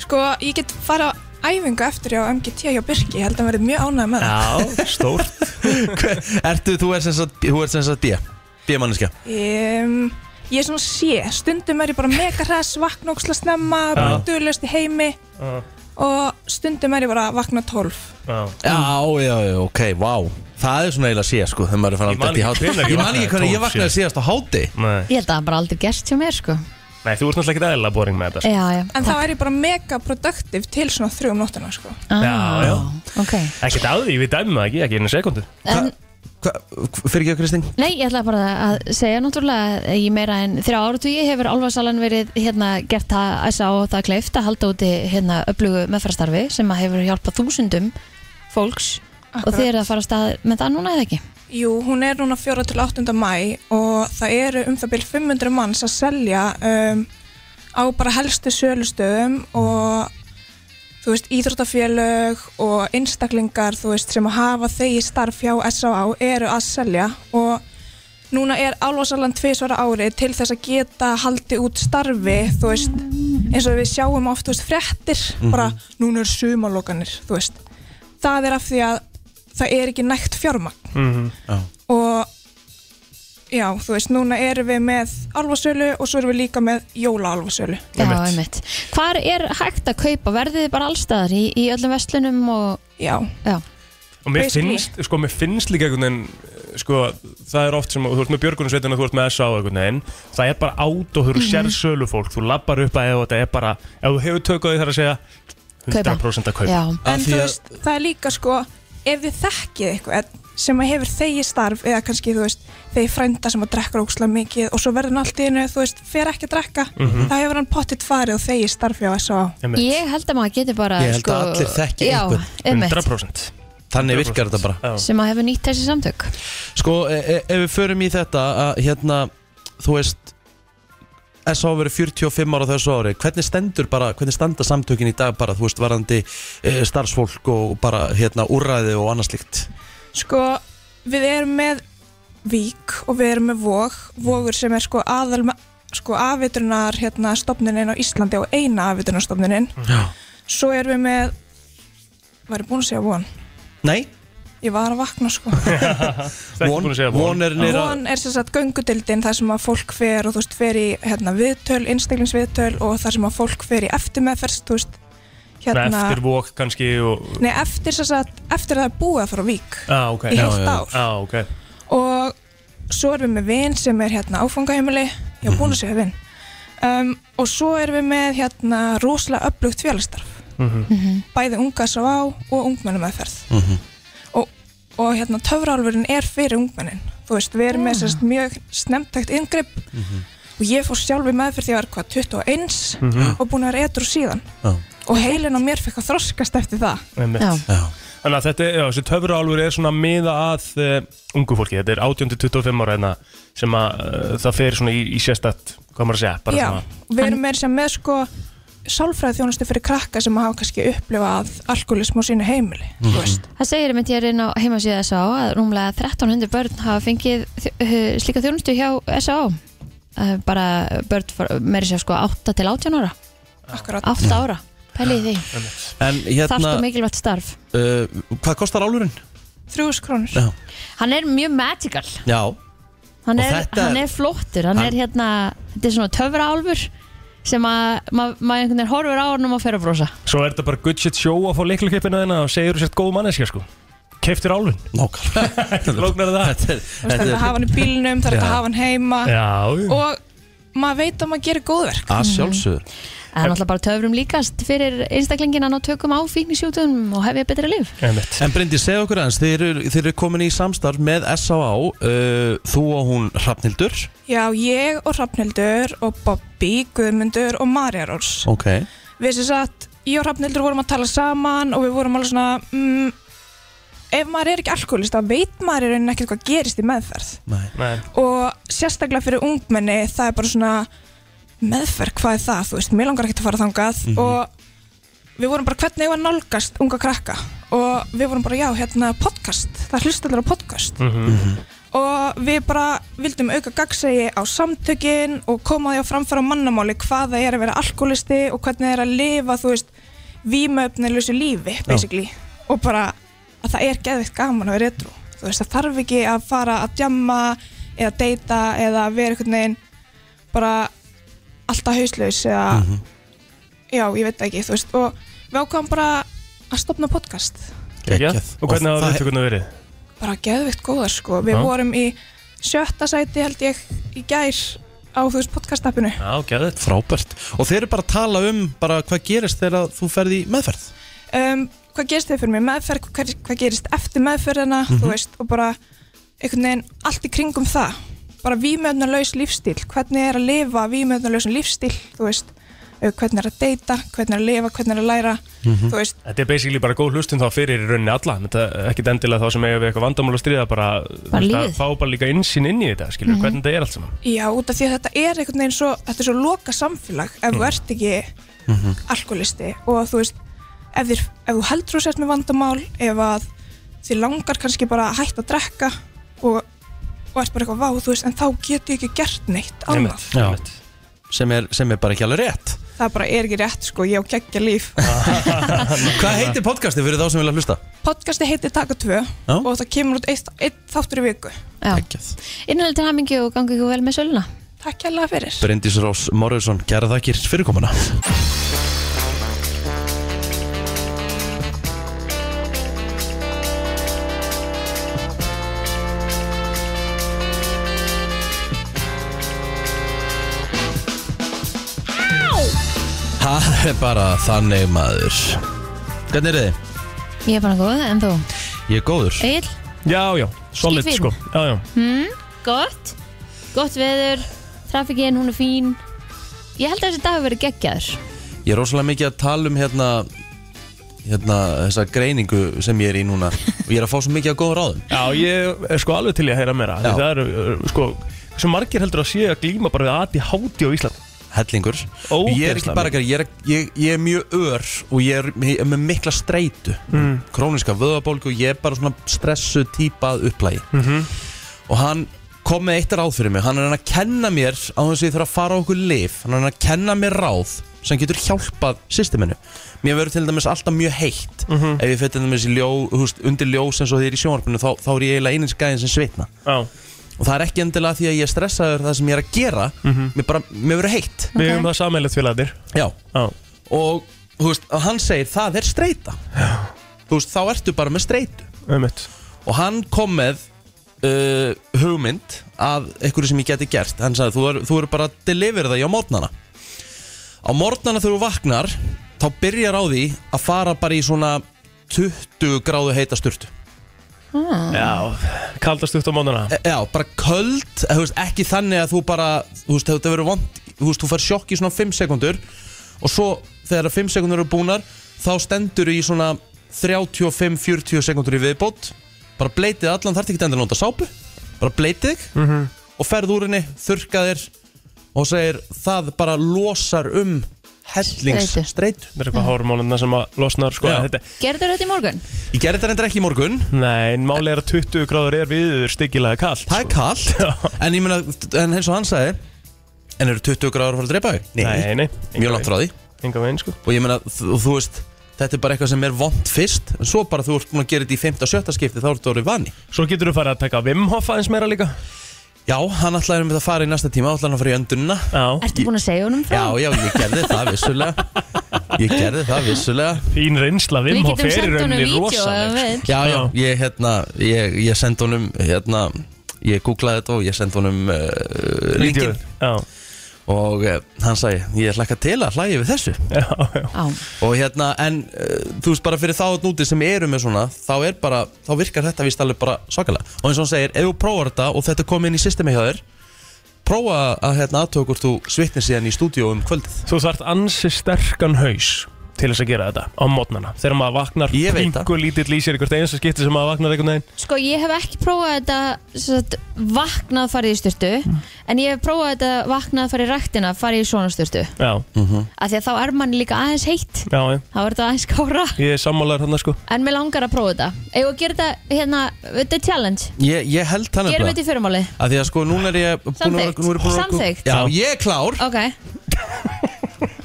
Sko, ég get fara á æfingu eftir á MGT hjá Birki, ég held að verði mjög ánægð með það.
Já, stórt
Hver- Ertu, þú ert sem sagt- þú ert sem sagt B B-manniska
Um, ég er svona sé, stundum er ég bara mega hress, vakna óksla snemma, bara duðlust í heimi
Já.
og stundum er ég bara að vakna 12.
Já.
Já, já, já, ok, vá Það er svona eiginlega sé, sko, þegar maður er fann
Ég man
alltaf í
ekki
háti
hvenær ég
Ég man
vaknaði
ekki hvernig ég
12
vaknaði
síðast.
síðast á háti
Nei.
Ég held að það hafa bara aldrei gerst hjá mér sko.
Nei, þú ert náttúrulega ekki aðeila boring með þetta sko.
Já, já.
En þá er ég bara mega productive til svona þrjum nóttina sko.
Ah,
Já, já.
ok.
Eh.
Ekkert að því, við dæmum það ekki, ekki einu sekundu
En
fyrir ekki að Kristín
Nei, ég ætla bara að segja náttúrulega að í meira en þrjá áratugi hefur Álfarsalan verið hérna gert það æsa og það kleift að halda úti hérna öflugu meðfærastarfi sem að hefur hjálpað þúsundum fólks og þið eru að fara að stað með það núna eða ekki?
Jú, hún er núna 4 til 8. mæ og það eru um það byrj 500 manns að selja um, á bara helstu sölustöðum og þú veist, íþróttafélög og einstaklingar, þú veist, sem að hafa þau í starf hjá S.A.A. eru að selja og núna er álvarsalan tvisvara ári til þess að geta haldið út starfi, þú veist, eins og við sjáum oft, þú veist, fréttir, bara núna eru sumalokanir, þú veist. Það er af því að það er ekki nægt fjármagn
Mhm.
og já, þú veist, núna erum við með alvasölu og svo erum við líka með jólaalvasölu.
Já, einmitt. Hvar er hægt að kaupa? Verðið þið bara allstaðar í, í öllum vestlunum og
Já,
já,
Og mér
Basically.
finnst, sko, mér finnst líka einhvern veginn sko, það er oft sem, þú ert með björgunarsveitina þú ert með SA og einhvern veginn, það er bara át og þú eru sérsölu fólk, þú labbar upp að ef þetta er bara, ef þú hefur tökku á því þar að segja 100% að kaupa
já,
en þú veist, það er líka sko, ef þið þekkið eitthvað sem að hefur þegi starf eða kannski, þú veist, þegi frænda sem að drekka ókslega mikið og svo verður hann allt í einu, þú veist, fer ekki að drekka, það hefur hann pottitt farið og þegi starf hjá S.A.
Einmitt.
ég held að maður geti bara
Ég held
sko,
að allir þekki
já,
einhvern.
einmitt,
100%
Þannig virkar þetta bara
Já.
sem að hefur nýtt þessi samtök
Sko, e e ef við förum í þetta að hérna, þú veist S.A. verið 45 ára á þessu ári hvernig stendur bara, hvernig standa samtökin í dag bara, þú veist, varandi e starfsfólk og bara, hérna, úrræði og annað slíkt
Sko, við erum með Vík og við erum með Vog Vogur sem er sko aðal sko afvitrunar hérna stofnunin á Íslandi og eina afvitrunarstofnunin
Já.
svo erum við með var ég búin að segja von?
Nei,
Ég var að vakna sko
Það er ekki búin að segja von
von er nýra
Von er sem sagt göngudildin þar sem að fólk fer og þú veist fer í hérna viðtöl, einstaklingsviðtöl og þar sem að fólk fer í eftirmeðferst þú veist
Svona
hérna
eftir vok kannski og,
Nei, eftir, sem sagt, eftir að það er búið að fara á Vík
á, ok,
í
já,
heilt
já.
ár
á, ok
og svo erum við með vin sem er hérna áfangaheimili já búin að segja vin um, og svo erum við með hérna rosalega öflugt félagsstarf
Mhm.
bæði unga sá á og ungmennum aðferð
Mhm.
og, og hérna töfrálfurinn er fyrir ungmennin þú veist við erum með sérst mjög snemtækt yngripp
Mhm.
og ég fór sjálf í meðferð því að var hvað 21
Mhm.
og búin að vera edru síðan
Já.
og heilin á mér fekk að þroskast eftir það
Einmitt.
já,
Já,
Þannig að þetta, já, þessi töfraálfur er svona miða að uh, ungu fólki, þetta er 18-25 ára hérna sem að uh, það fer svona í, í sérstætt, hvað maður að segja, bara
Já,
svona
við erum meira sem með sko sálfræði þjónustu fyrir krakka sem hafa kannski upplifað alkoholism á sínu heimili þú veist.
Það segir einmitt hér inn á heimasíða S.A. að rúmlega 1300 börn hafa fengið þjó- uh, slíka þjónustu hjá S.A. Uh, bara börn for- meiri sér sko 8 til 18 ára
Akkurat,
8 ára, pælið í því
en
þarft
hérna
og mikilvægt starf
uh, Hvað kostar álurinn?
þrjúðus krónur
Já,
Hann er mjög magical,
Já.
hann
Og
er,
þetta er-
hann er flottur hann,
Hann-
er hérna, þetta er svona töfra álfur sem að ma- maður einhvern veginn horfur á hann og maður fer að brosa
Svo er þetta bara good shit show að fá leiklukeppina þina og segir þú sért góð manneskja sko Keiftir álfin,
nákvæmlega
lóknar það
Þetta er-
það er
þetta
hægt að
er
hafa hann í bílnum, það er hægt að
Já.
hafa hann heima
Ah.
Já, og,
og maður veit að maður gerir góðverk
að
Mhm.
sjálfsögur
Það er náttúrulega bara töfrum líkast fyrir einstaklingin að ná tökum á fíknisjútum og hefja betra líf
einmitt
En Bryndi, segja okkur aðeins, þeir eru, þeir eru komin í samstarf með S.A.A. Uh, þú og hún Hrafnildur
Já, ég og Hrafnildur og Bobby, Guðmundur og Marja Róls
Ok
Við sem sagt, ég og Hrafnildur vorum að tala saman og við vorum alveg svona mm, ef maður er ekki alkoholist þá veit maður í rauninni ekkert hvað gerist í meðferð
Nei.
Nei,
og sérstaklega fyrir ungmenni það er bara svona meðferð, hvað er það, þú veist, mér langar ekki að fara þangað og við vorum bara hvernig ég var nálgast unga krakka og við vorum bara, já, hérna, podcast það hlust allir á podcast og við bara vildum auka gagsegi á samtökin og koma því á framfæra mannamáli hvað það er að vera alkoholisti og hvernig það er að lifa, þú veist vímöfnilösu lífi, basically og bara að það er geðvikt gaman að vera retro þú veist, það þarf ekki að fara að djamma eða deyta eða vera einhvern veginn bara alltaf hauslaus eða já, ég veit það ekki, þú veist og við ákvæðum bara að stopna podcast
ja.
Geggjað.
Og hvernig hafa
það-
viðtökurnar verið?
bara geðvikt góðar sko við
Já.
vorum í sjötta sæti held ég í gær á þú veist podcastappinu
Já, geðið
Frábært Og þeir eru bara að tala um bara hvað gerist þegar þú ferð í meðferð
um, hvað gerist þau fyrir mig meðferð, hvað, hvað gerist eftir meðferðina þú veist og bara einhvern veginn allt í kringum það bara vímöðnarlaus lífstíl hvernig er að lifa vímöðnarlausun lífstíl þú veist, eh, hvernig er að deyta hvernig er að lifa, hvernig er að læra þú veist,
Þetta er basically bara góð hlustun þá fyrir í rauninni alla Þetta er ekkit endilega þá sem eiga við eitthvað vandamál að stríða bara,
Bara
þú veist, að
lífið. Mhm.
fá bara líka insýn inn í þetta skilur, hvernig þetta er allt saman
já, út af því að þetta er einhvern veginn svo, þetta er svo loka samfélag ef þú ert ekki alkoholisti og þú veist, ef, þér, ef þú heldur þú sért með vandamál ef að þið langar kannski bara að hætta að drekka og, og ert bara eitthvað vá, þú veist, en þá get ég ekki gert neitt annað
Einmitt, einmitt.
sem er, sem er bara ekki alveg rétt
það bara er ekki rétt, sko, ég á geggja líf
Hvað heitir podcasti fyrir þá sem vilja hlusta?
Podcasti heitir Taka 2
Já.
og það kemur út eitt, eitt þáttur í viku.
Já,
Ekkið
innhaldi til hamingju og gangi ykkur vel með söluna
Takk hérlega fyrir.
Bryndís Rós Morrison, kæra þakkir fyrir komuna Það er bara þannig maður Hvernig er þið?
Ég er bara góð, en þú?
Ég er góður
Egil,
Já, já, solid
Skítfín.
sko Já, já,
gott Gott veður, trafikinn, hún er fín Ég held að þessi dag hafi verið geggjaður
Ég er rosalega mikið að tala um hérna hérna þessa greiningu sem ég er í núna og ég er að fá svo mikið að góða ráðum
já ég er sko alveg til í að heyra meira
Já.
Það eru, uh, sko, svo margir heldur að sé að glíma bara við aði á Ísland
hellingur
Ógeðslega
ég er ekki bara ekki, ég, er- ég, ég er mjög ör og ég er, ég er með mikla streitu
Mm.
króniska vöðabólgu ég er bara svona stressu típað upplægi
Mhm.
og hann kom með eitt ráð fyrir mig hann er hann að kenna mér á þess að ég þarf að fara á okkur lif hann er hann að kenna mér ráð sem getur hjálpað systeminu mér verður til dæmis alltaf mjög heitt
Mhm.
ef ég fyrir til dæmis í ljó, húst, undir ljós eins og þeir í sjónvarpinu þá, þá er ég eiginlega einins gæðin sem svitna
Já,
og það er ekki endilega því að ég er stressaður það sem ég er að gera
Mhm.
mér, bara, mér verður heitt
við hefum það sammeilegt félagarnir
Já,
Já,
og þú veist, og hann segir það er streyta þú veist, þá ertu bara með streytu
einmitt
og hann kom með uh, hugmynd að einhverju sem ég geti gert hann sagði, þú eru er þú verður bara að delivera það í á morgnana á morgnana þegar þú vaknar þá byrjar á því að fara bara í svona 20 gráðu heita sturtu
Já, kaldast út á mónuna
E- Já, bara köld, eh, þú veist, ekki þannig að þú bara, þú veist, þetta verður vond, þú veist, þú fær sjokk í svona 5 sekundur og svo þegar að 5 sekundur eru búnar þá stendur í svona 35-40 sekundur í viðbót bara bleitið allan, þarf ekki endilega að nota sápu bara bleitið þig og ferð úr henni, þurrka þér og segir það bara losar um
Streitu.
hellingsstreit
Það er eitthvað
Mm.
hormónuna sem að losnar sko
Já.
þetta,
Gerður þetta í morgun?
Ég gerði þetta reyndar ekki í morgun
Nei, en máli er að 20 gráður er viður styggilega kalt sko.
Það er kallt, en ég meina, en eins og hann sagði En eru 20 gráður að fara að dreipa þig?
Nei, nei,
mjög langt frá því
Enga veginn sko
og ég meina, þú, þú veist þetta er bara eitthvað sem er vond fyrst en svo bara þú ert búin að gera þetta í 5. og 7. skipti þá ertu orðið vani
Svo getur þú farið að taka Wim Hof aðeins meira líka
já, hann ætlaði um þetta að fara í næsta tíma ætlaði hann að fara í öndunina
Já
Ertu búin að segja honum frá?
já, já, ég gerði það vissulega ég gerði það vissulega
Þín reynsla
Við
Wim Hof
getum
er í
sendt honum
rauninni
vídeo ef
rosaleg sko.
við-
já, já,
Já.
ég, hérna, ég, ég sendi honum hérna, ég googlaði þetta og ég sendi honum uh,
Vídeóið.
linkin
Já,
og uh, hann sagði, ég hlakka til að hlæja við þessu
já, já
Já,
og hérna, en uh, þú veist bara fyrir þá þarna úti sem eru með svona, þá er bara þá virkar þetta vist alveg bara svakalega og eins og hann segir, ef þú prófar þetta og þetta kom inn í systemi hjá þér prófa að hérna aðtöku hvort þú svitnir síðan í stúdíó um kvöldið
Þú þarft ansi sterkan haus til þess að gera þetta á mótnana þegar maður vaknar
Ég veit það.
pingu lítill í sér í hvert einasta skipti sem maður vaknar einhvern veginn
sko ég hef ekki prófað þetta sem sagt, vaknað farið í styrtu en ég hef prófað þetta vaknað farið í ræktina farið í svona styrtu
Já,
Mm.
af því að þá er manni líka aðeins heitt
já, já,
þá er þetta aðeins kára
ég er sammálaður hann sko
en mér langar að prófa þetta eigum við að gera þetta hérna, þetta er challenge
ég, ég held þannig
gerum við þetta í fyrirmáli
að því að sko núna er ég búin að-
Samþykkt.
nú er ég búin að-
Samþykkt.
já, ég er klár
ok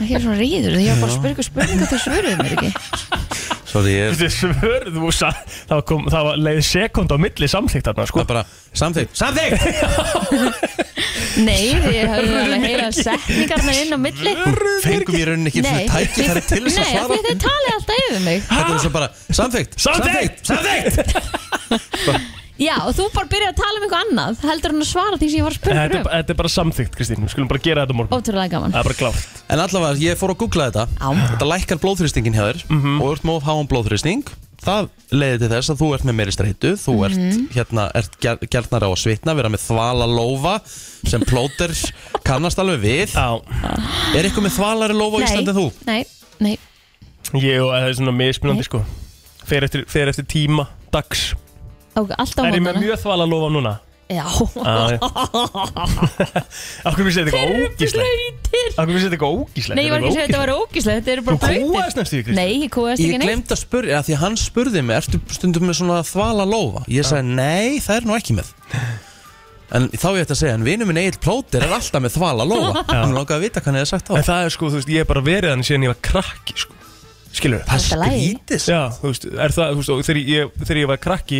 ég er svona reyður ég var bara að spyrja ykkur spurninga þau svöruðu mér ekki
Sorry, ég er
Þetta er svörð og sa- það kom, það var leið sekund á milli samþýtt þarna sko
það er bara, samþygt, samþygt
nei, ég hafði alveg að heyra setningarna inn á milli
fengum ég í rauninni ekki
nei,
svona tækifæri til
nei, af því
þess að svara
að þau talið alltaf yfir mig
þetta er svo bara, samþygt,
Samþykkt.
samþygt
já, og þú bara byrjar að tala um eitthvað annað heldur hann að svara því sem ég var að spyrja ykkur
Þetta er,
um
þetta er bara samþýtt Kristín, við skulum bara gera þetta á morgun
ótrúlega gaman
Það er bara klárt
En allavega, ég fór að googla þetta
Já.
Þetta lækkar blóðþrýstingin hjá þér Og ert með of háan blóðþrýsting það leiði til þess að þú ert með meiri streitu þú
Mhm.
ert, hérna, ert ger- gjarnar á að svitna vera með þvala lófa sem plóter kannast alveg við
Já,
er eitthvað með þvalari lófa á Íslandi en þú?
Nei, nei,
ég og það er svona mismunandi sko Fer eftir, fer eftir tíma, dags
ok, alltaf á
Er ég með
mótana
mjög þvala lofa núna?
Já,
Já, já. Af hverju finnst þér þetta eitthvað ógíslegt?
brautir
Af hverju finnst þér þetta eitthvað ógíslegt?
Nei, ég var ekki að segja að þetta var ógíslega, þetta eru bara
Þú
brautir
kúast næstu því,
Nei, ég kúast
Ég
ekki neitt
glemt að spurja, því að hann spurði mig Ertu stundum með svona þvala lófa? Ég sagði, nei, það er nú ekki með En þá ég ætti að segja, en vinur minn Egil Plóter er alltaf með þvala lófa Hann langaði að vita hvað hann hefði sagt á
En það er sko, þú veist, ég er bara verið hann síðan ég var krakki sko. Skilur það?
Það er alltaf lagi.
skrítið
Já, þú veist, er það, þú veist, og þegar ég, þegar ég var krakki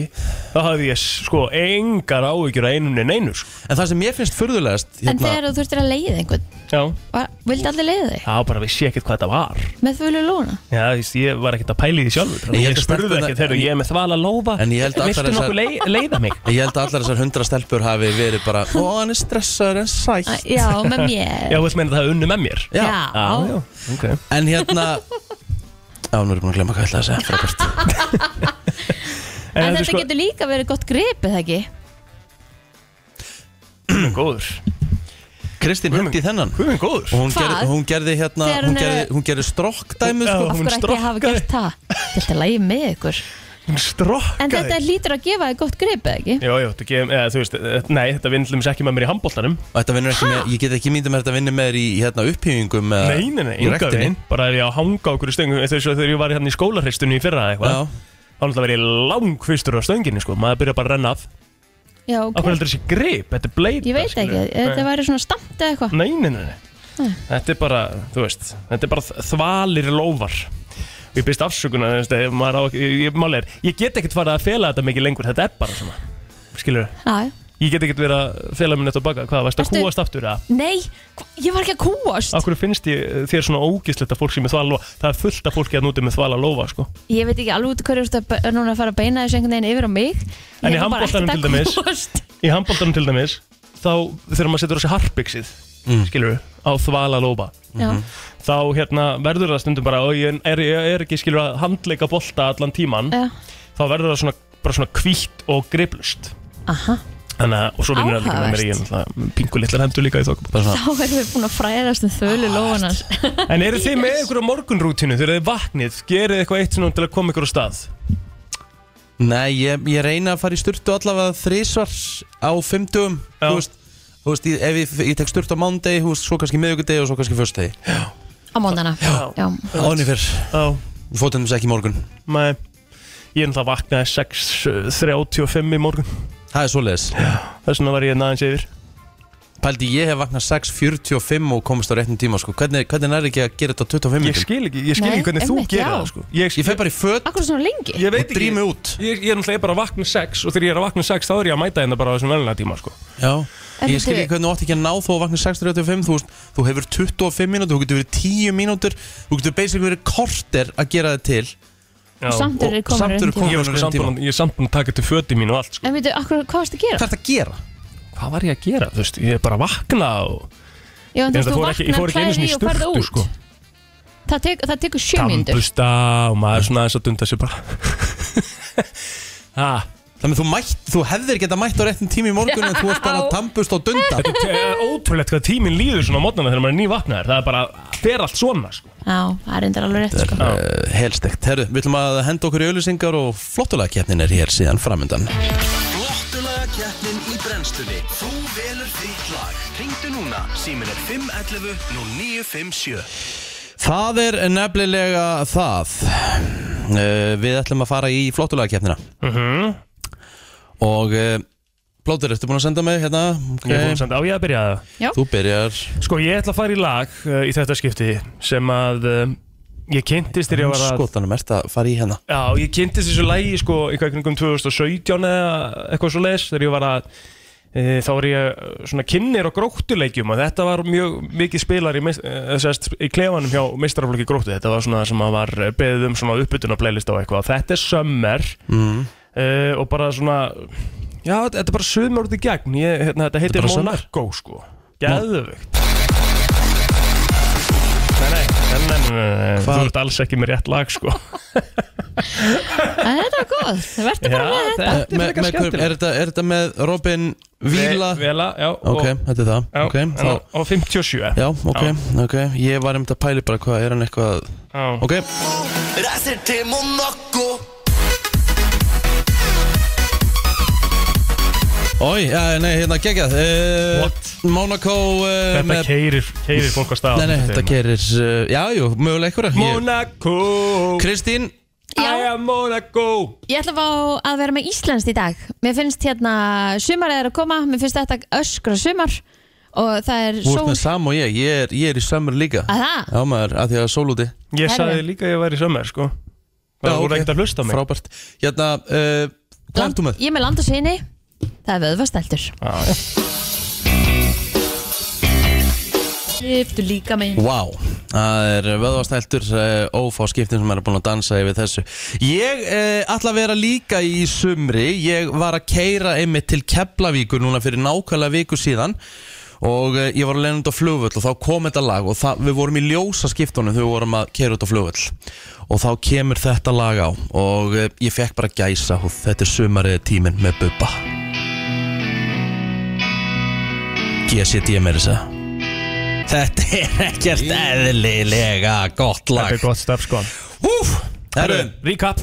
þá hafði ég sko engar áhyggjur að einum en einu sko.
En það sem ég finnst furðulegast hérna,
En þegar þú þurftir að leiða einhvern
Já,
var- Vildi allir leiða þig?
það var bara vissi ekkert hvað þetta var
Með þvölu lóna?
Já, þú veist, ég var ekkert að pæli því sjálfur
Nei,
Ég,
ég held
ég
að
spurði
stelpurnar-
ekkert, þegar ég er með þvala lófa
En ég held að allar
Viltu
þessar-
nokkuð lei, leiða mig?
Ég held að allar þessar hundra stelpur hafi verið bara Ó, hann er stressaður en sætt
Æ, Já, með
Já,
mér
þú veist, meina það er unnu með mér
Já.
já, ok
En hérna Já, nú er ég búin að glemma hvað ég ætlaði að segja frábært.
En
þetta
þetta
er sko-
getur líka verið gott grip, eða ekki?
Guð minn góður
Kristín hendi í þennan
Guð minn góður
Og hún,
Hvað?
ger, hún gerði hérna
Þegar
Hún
hún er-
gerði, hún gerði strokkdæmi sko.
Já.
Af
Hún
hverju ætti ég að hafa
strokkaði.
gert það? Þetta er lægi með ykkur
Hún strokkaði
En þetta lítur að gefa þig gott grip, eða ekki?
Jó, jó, þetta gefum, eða þú veist, eh, nei, þetta vinnlum sér ekki með mér í handbóltanum
Og Þetta vinnur ekki með, ég get ekki myndið með þetta vinnur með þér í hérna upphýfingum eða
Nei, nei, nei,
í
enga
ræktinni.
veginn Bara ef ég á að hanga okkur í stöngum Þegar, svo, þegar ég var hérna í skólarreistunni í
Já,
fyrra eða eitthvað Þá náttúrulega verið ég lang fyrstur á stönginni sko Maður byrja bara að renna af
Já,
Akkur
ok
heldur þessi grip, þetta er bleita
Ég veit ekki,
skilurðu.
þetta væri svona stamt eða eitthvað
Nei, nei, nei, nei. Þetta er bara, þú veist Þetta er bara þ- þvalir lófar Og Ég byrst afsökunar þú veist, ef maður á ekki- ég, ég, mál er, ég get ekkert farið að fela þetta mikið lengur Þetta er bara svona Skilur,
Já, já.
ég get ekkert verið að fela mér þetta baka Hvað, varst að
Ertu-
kúast aftur eða?
Nei, hva- ég var ekki að kúast
Akkur finnst ég, þér svona ógislegt að fólk sem er þvala lófa Það er fullt af fólki að núti með þvala lófa sko.
Ég veit ekki alveg út í hverju þú ert að be- núna að fara að beina þessu einhvern veginn yfir á mig
En í
Ég var bara
handboltanum
ekkert
til dæmis-
að kúast.
Í handbóltanum til dæmis Þá þegar maður setur á sig harpiksið mm. Skilur á þvala lófa
Já,
Þá hérna verður það stundum bara Og ég er, ég er ekki skilur að handleika bolta allan tíman
já,
Þá verður það svona, bara svona hvítt og griplust
aha
Þannig að, og svo vinnur það líka með mér Ég er náttúrulega pingu litlar hendur líka í þokkum
bara svona
Þá erum við búin að fræðast um þölu lóðanars
En eru þið með ykkur á morgunrútinu Þegar þið vaknið, gerið eitthvað eitt svona til að koma ykkur á stað
Nei, ég, ég reyna að fara í sturtu allavega þrísvar á fimmtugum
Já.
Þú veist, þú veist ég, ef ég, ég tek sturtu á mándegi, þú veist, svo kannski miðugudegi og svo kannski fyrstegi
Á móndana
Já.
já.
Áni fyrr,
Já,
fótum þess ekki í morgun
Nei, ég náttúrulega vaknaði 6.35 í morgun
Það er svoleiðis
Þess vegna var ég hérna aðeins yfir
Paldi, ég hef vaknað 6.45 og komist á réttum tíma sko. Hvernig, hvernig er ekki að gera þetta á 25
Ég
minnum?
skil ekki, ég skil
Nei,
ekki hvernig þú
einmitt,
gerir
já.
það sko. Ég,
Ég fer bara í föt
Akkur svona lengi
ég
og
veit ekki
drými út
Ég, ég er náttúrulega bara að vakna 6 og þegar ég er að vakna 6 þá er ég að mæta hérna bara á þessum velina tíma sko.
Já
En
Ég skil
bíddu-
ekki hvernig þú átt ekki að ná þó að vakna 6.35 þú, veist, þú hefur 25 mínútur, þú getur verið 10 mínútur Þú getur basically verið korter að gera það til
Já.
Samt eru þeir
Og
komin
samt eru komin-
Ég var sko samt búinn að- ég er samt búin að taka til föti mín og allt sko.
En veitu, akkur, hvað varst að gera?
Hvað er það að gera?
Hvað var ég að gera? Þú veist, ég er bara að vakna og
Já, en þú
Ég veist,
veist,
það
þú
fór ekki- ég fór
vaknar
ekki einu sinni
klæði
í
og farði
sturtu,
út
sko.
Það tek- það tekur sjö mínútur
dambusta og maður er svona aðeins að dunda sér bara Ha,
Þannig að þú, mætt, þú hefðir geta mætt á réttum tíma í morgun en þú ert bara
Já.
dampust og dunda
Þetta er ótrúlegt hvað tíminn líður svona á mótnana þegar maður er nývaknaður Það er bara, fer allt svona sko.
Já, það er endur alveg rétt sko.
uh, Helstegt, herru, við ætlum að henda okkur í auðlýsingar og flottulega keppnin er hér síðan framöndan
Flottulega keppnin í brennstunni Þú velur þitt lag Ringdu núna, símin er 511 nú 957
Það er nefnilega það uh, Við ætlum að fara í flottulega keppnina
Mhm.
Og uh, Blóttur, ertu búin að senda mig hérna?
Ég er búin að
Okay.
senda á ég að byrja það
Þú byrjar
Sko ég ætla að fara í lag uh, í þetta skipti sem að uh, ég kynntist þegar ég var að
Skotanum, ert að fara í hérna
Já, ég kynntist þessu lagi sko eitthvað kringum 2017 eða eitthvað svo leis þegar ég var að e, þá var ég uh, svona kynir á gróttuleikjum og þetta var mjög mikið spilar í, meist- eh, sest, í klefanum hjá meistaraflöki gróttu þetta var svona það sem að var eh, beðið um svona uppbytuna playlist og eitthvað þetta er sömmer
mm.
uh, og bara svona já, þetta þetta er bara sömmer út í gegn ég, hérna, þetta heitir
bara summer.
Monaco sko geðvögt nei, nei, nei, nei, Þú ert alls ekki með rétt lag sko
En þetta var góð, það verður bara með þetta
Mm. Eh,
þetta
Me, með, hvern- er, þetta, er þetta með Robin Vila?
Vela, já og-
ok, þetta er það
Já,
Ok,
en
þá,
á- á 57
já, ok, ok Ég var um þetta pæli bara hvað, er hann eitthvað
Já.
Ok,
Reiser til Monaco
oi, ja, nei, hérna geggjað uh,
What?
Monaco uh,
Þetta keirir, keirir fólk að staða
Nei, nei, þetta kerir, uh, já, jú, mögulega einhverja Ég-
Monaco
Kristín,
I
Já,
am Monaco
ég ætla að fá að vera með Íslands í dag Mér finnst hérna, sumar er að koma Mér finnst þetta öskra sumar Og það er
þú ert
sól Ah.
með sam og ég Ég er, ég er í sömur líka
Að það?
Já maður, að því að sól úti
Ég
Herri.
sagði líka að ég væri í sömmer sko Það voru
ok.
ekkert að hlusta á mig
Frábært Hérna, uh, hvað
Land-
ertu með?
Ég er með land og sinni Það er vöðvastæltur
Já.
Skiptu líka mig
Vá, það er vöðvastæltur uh, ófá skiptin sem er búin að dansa yfir þessu Ég uh, ætla að vera líka í sumri Ég var að keira einmitt til Keflavíkur núna fyrir nákvæmlega viku síðan og uh, ég var að leina út á flugvöll og þá kom þetta lag og það, við vorum í ljósa skiptunum þegar við vorum að keira út á flugvöll og þá kemur þetta lag á og uh, ég fekk bara gæsa og þetta er sumarið tíminn með Bubba GCD meira þess að Þetta er ekkert eðlilega gott lag
Þetta er gott stef sko
Úf, herru,
Recap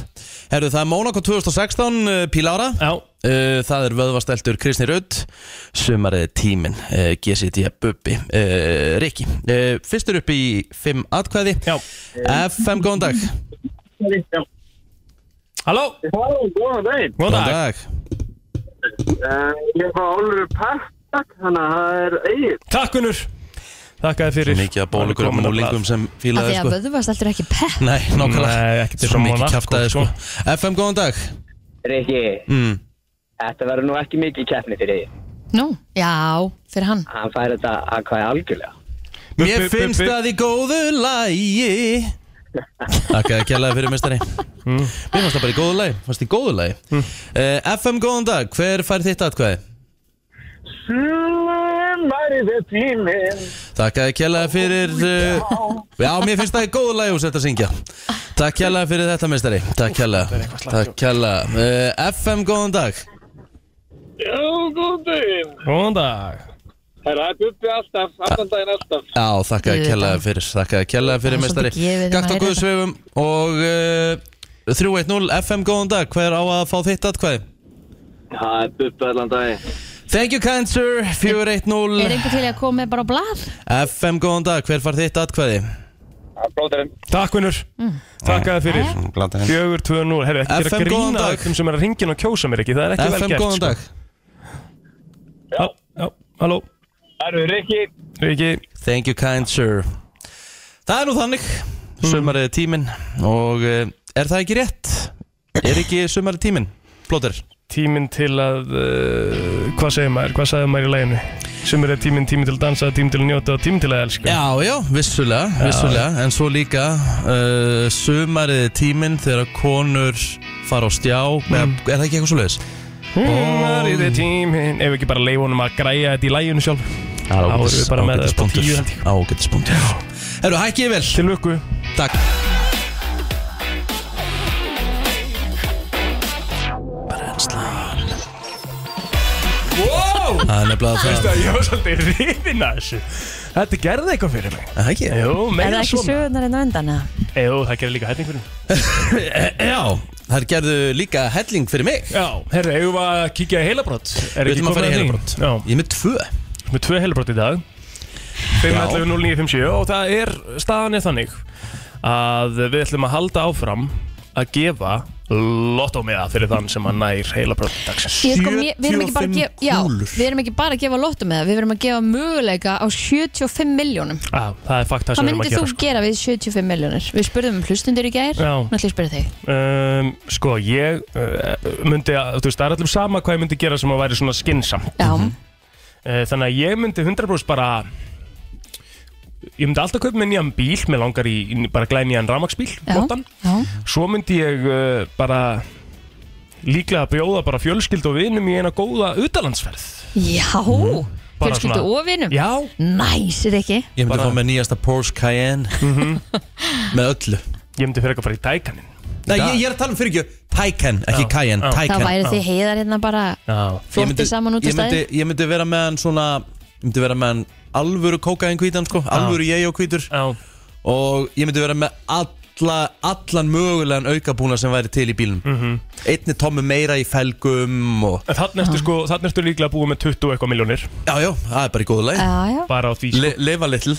herru, það er Mónako 2016 uh, Pílára
Já
uh, Það er vöðvastæltur Kristni Rudd Sumarið tímin uh, GCD Bubbi uh, Rikki uh, Fyrstur upp í 5 atkvæði
Já
FM, góðan dag
Halló
Halló, góðan daginn.
Góðan dag
dag
Uh, ég er frá Ólfur Partak, þannig að það er eigin.
Takk unnur Þakka þér fyrir
Mikið að bólugur og
Komin á
múlingum
blað.
sem
Af því
fílaði
að
sko
vöðvastæltur er ekki pepp
Nei,
Nei,
nákvæmlega
ekki til
Svo mikið
Mónakó,
kjaftaði sko FM, góðan dag
Rikki,
mm.
þetta verður nú ekki mikið keppni fyrir því.
Nú, já, fyrir hann
Hann fær þetta að hvað algjörlega.
Bu-
Mér
bu- bu-
finnst
bu-
það í góðu lægi Takk að kjallaði fyrir mestari Mér fannst það bara í góðu lægi Fannst í góðu lægi mm. FM góðan dag, hver fær þitt atkvæði?
Sumarið er tíminn.
Takk að kjallaði fyrir uh, Já, mér finnst það í góðu lægi úr þetta að syngja Takk kjallaði fyrir þetta mestari Takk kjallaði Takk kjallaði uh, FM góðan dag
Já, góðan daginn.
Góðan dag
Herra, það er bubbi alltaf, allan daginn alltaf.
Já, þakka að kjallaði fyrir Þakka að kjallaði fyrir
Það er
mestari
svolítið gefið um
Gakt
að
og
heyra
Guðsvefum og uh, 310 FM góðan dag Hver á að fá þitt atkvæði?
Það er bubbi allan daginn.
Thank you kind sir,
Er
410
einhver til í að koma með bara á blað?
FM góðan dag, hver far þitt atkvæði?
Takk unnur
Mm.
Þakka þér fyrir 4-2-0 Herru, ekki gera
FM, góðan
grína
dag.
þeim sem er að ringin og kjósa mér ekki Það er ekki vel
FM
gert sko.
góðan dag
Já, já, halló
Herru, Rikki.
Riki
Thank you kind sir Það er nú þannig,
Mm.
sumarið er tíminn og uh, er það ekki rétt? Er ekki sumarið tíminn? Plóter,
Tíminn til að uh, Hvað segir maður? Hvað sagði maður í læginu? Sem er tíminn, tíminn til að dansa, tíminn til að njóta og tíminn til að elska
já já, vissulega, vissulega en svo líka uh, sumarið er tíminn þegar konur fara á stjá
Mm.
eða, er það ekki eitthvað svoleiðis?
Sumarið er tíminn Ef við ekki bara leif honum að græja þetta í læginu sjálf
Það
Þá erum við bara með upp á tíu, held ég.
Ágætispunktur Herru, hækkið vel
Til lukku
Takk
Wow!
Það er nefnilega það
Veistu að ég var svolítið hrifin að þessu Þetta gerði eitthvað fyrir mig
Það ekki?
Jú,
Er það
meira
ekki
svona
sögurnar en á endan? eða?
Jú, það gerði líka hætning fyrir mig
Já, þær gerðu líka helling fyrir mig
Já, herru, eigum við að kíkja í heilabrott Er
Við ætlum að
komið
fara í
að því?
heilabrótt
Já,
Ég er með tvö
við erum tvö heilabrott í dag 5.11.09.57 Og það er, staðan er þannig Að við ætlum að halda áfram Að gefa lottómiða Fyrir þann sem að nær heilabrott dagsins
Ég sko, mér- við erum ekki bara að
75
gefa, já,
kúlur.
við erum ekki bara að gefa lottum með það, við erum að gefa möguleika á 75 miljónum.
Já, það er fakt það
Hvað
sem við erum
myndir
að
þú
gera sko.
gera við 75 miljónir? Við spurðum um hlustundir í gær,
Já.
náttúrulega ég spurði þig.
Um, sko, ég uh, myndi að, þú veist, það er allum sama hvað ég myndi gera sem að væri svona skinsamt
Já,
Eh, Þannig að ég myndi 100% bara Ég myndi alltaf kaupa mér nýjan bíl Mér langar í, í bara glæði nýjan ramaksbíl
já, já,
Svo myndi ég uh, bara Líklega bjóða bara fjölskyld og vinum Í eina góða utalandsferð
já,
Mhm. bara
fjölskyldu
svona-
og vinum
Já,
Næs, er ekki?
Ég myndi
Bara- Mhm.
fá með nýjasta Porsche Cayenne Með öllu
ég myndi fyrir að fara í tækanin
Nei, ég, ég er að tala um fyrir ekki Taycan, ekki
Já,
Cayenne,
já.
Þá
Taycan
væri þið heiðar hérna bara
Já,
Ég myndi-
flottið saman út
ég
af
myndi,
stæði
ég myndi vera með hann svona Ég myndi vera með hann alvöru kókain hvítan sko Alvöru ég og hvítur
já,
Og ég myndi vera með alla, allan mögulegan aukabúna sem væri til í bílnum
Mhm.
Einni tommu meira í felgum og
en þannig ertu sko þannig ertu líklega að búa með 20 og eitthvað miljónir
Já, já, það er bara í góðu lagi
Já, já,
bara á því sko.
Le, Lifa little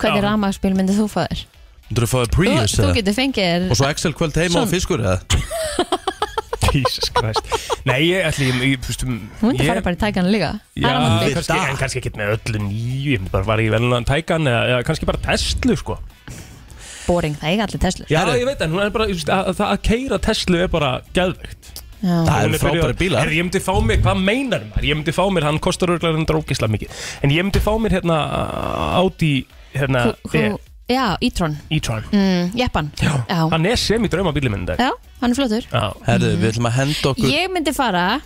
hvernig
Já.
rafmagnsbíl myndið þú fá þér?
Þú þurfum að fáið
Þú,
Prius
þú
eða?
getur fengið
Og
þér
svo Excel kvöld heima og
Svona.
fiskur eða?
Jesus Christ Nei, ég ætli, ég, um, ég, fústum,
Þú myndi fara bara í tækana líka
Já,
Það er alveg-
Við
kannski,
dag.
en kannski ekkert með öllu nýju Ég myndi bara var í velnaðan tækan eða, eða kannski bara Tesla sko
Boring, það er allir Tesla
Já, ég veit en hún er bara, just, að, að, að keira Tesla er bara geðveikt
Það
Hún
eru
er byrjuð-
frábæri bílar
Herri, Ég myndi fá mér, hvað meinar maður? Ég myndi fá mér, hann kostar örglega hann drókisla mikið En ég myndi fá mér hérna Audi, hérna
Hú- hú-
e-
Já, e-tron,
e-tron
Mm, jeppan Já,
Hann er sem í drauma bíli minn dag
Já, hann er flottur
Já,
Herðu, við ætlum að henda okkur
Ég myndi fara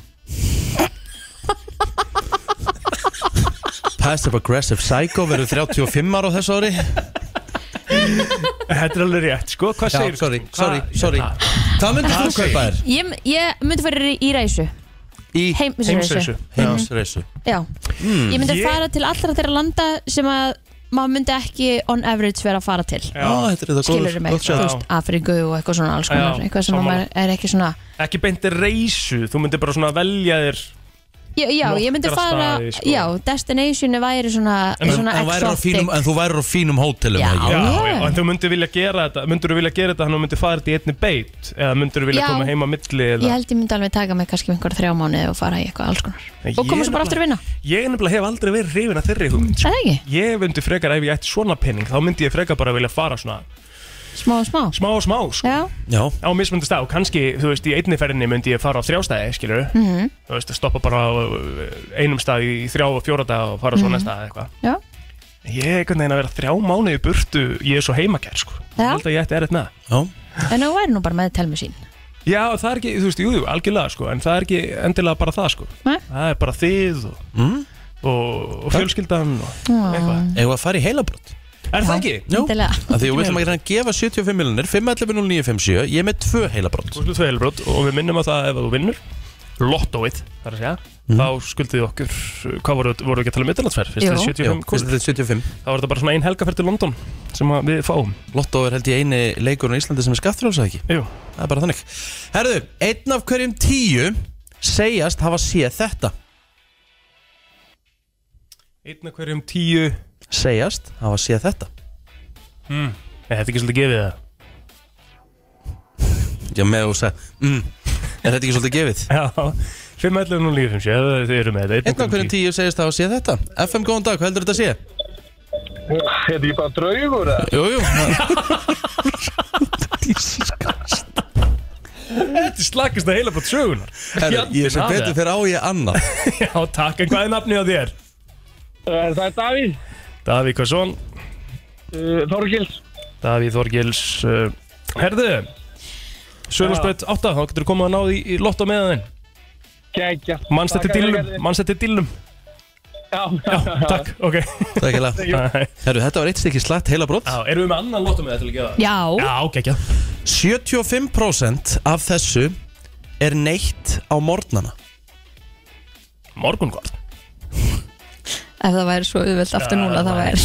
Passive Aggressive Psycho verður 35 ára á þessu ári
þetta er alveg rétt, sko, hvað
Já,
segir
sorry, sorry, sorry Hvað myndir þú kaupa þér?
Ég, ég myndi fara í reysu
Í
Heimsreysu
Heimsreysu
heimsreysu
Já Ég myndi
Ég-
fara til allra þeirra landa sem að maður myndi ekki on average vera að fara til
Já, þetta er þetta
skilur mig,
gott
þú
sjá.
veist, Afriku og eitthvað svona alls konar,
Já,
eitthvað sem að
sammála.
maður er ekki svona
Ekki beinti reysu, þú myndi bara svona velja þér
Já, já ég myndi
Nokkra
fara,
staði, sko.
já, destinationi væri svona,
En-
svona
En, værir á fínum, en þú værir á fínum hótelum
Já.
ekki?
Já, já,
já.
en þú myndir vilja gera þetta Myndir þú vilja gera þetta, hann myndir fara þetta í einni beit Eða myndir þú vilja
Já.
koma heima á milli eða...
Ég held ég myndi alveg taka mig kannski um einhver þrjá mánuði og fara í eitthvað alls konar
Nei,
og koma
ég
svo bara
nefnilega-
aftur að vinna,
Ég nefnilega hef aldrei verið hrifin að þeirri hugmynd
er það ekki?
Ég myndi frekar ef ég ætti svona penning Þá myndi ég frekar bara vilja fara svona
Smá, smá,
Smá og smá sko.
já,
Já,
Á mismöndu stað og kannski Þú veist, í einni ferðinni myndi ég fara á þrjá staði Skilur
Mm. mhm,
-hmm. Þú veist, að stoppa bara á uh, einum stað Í þrjá og fjóra dag og fara á svona mm -hmm. stað eitthvað
já
Ég er einhvern veginn að vera þrjá mánuði í burtu Ég er svo heimakær sko Ég
Já.
held að ég ætti erfitt með það
já
En þú væri nú bara með telmi sín
Já, það er ekki, þú veist, jú, jú, algjörlega sko En það er ekki endilega bara það sko
Nei.
Það er bara þið og,
Mm.
og, og fjölskyldan og eitthvað
Eða að fara í heilabrott
Er það ekki?
Jú.
Endilega.
Af Því að við ætlum að reyna að gefa 75 miljonir 5.11.09.57 Ég er með tvö heilabrott
Þú slutt feilbrot og við minnum að það ef þú vinnur Lottóið, þar að segja Þá skuldið okkur, hvað voru, voru ekki að tala um ytterlandsferð? Fyrst
Jú.
þið
Já, fyrst
75 kúl
þetta er 75
Það var þetta bara svona ein helgaferð til London sem að við fáum
Lotto er held ég eini leikurinn í Íslandi sem er skattfrálsa ekki
Jú,
Það er bara þannig Herðu, einn af hverjum tíu segjast hafa séð þetta
einn af hverjum tíu
Segjast hafa séð þetta
Nei, þetta er ekki svolítið gefið það
Já, með þú seg mm. Er þetta ekki svolítið gefið?
Já, 5.11 og 9.50, ef þið eru með þetta
Einn af hverjum tíu segjast hafa séð þetta FM, góðan dag, hvað heldur þetta að sé?
Er ég bara draugur eða?
Jú, jú
Þetta er slakast að heila bara sögunar
Herru, Ég sem betur fyrir á ég annað
Já, takk, en hvað er nafnið á þér?
Eh, Það er Davíð,
Davík Kvason,
eh, Þorgils.
Davíð Þorgils uh, Herðu Sölvarsbreytt 8, þá getur þú komið að náði í, í lotto með þinn
Gækja.
Manst þetta dýlum, manst þetta dýlum
Já,
Já, takk, ok
Takk hella
Æ,
Herru, þetta var eitt stykki slætt heilabrótt
Já, erum við með annan lotto með þetta til að gefa það?
Já,
Já, ok, ekki
75% af þessu er neitt á morgnana
Morgun hvort
ef það væri svo auðvelt aftur núna það væri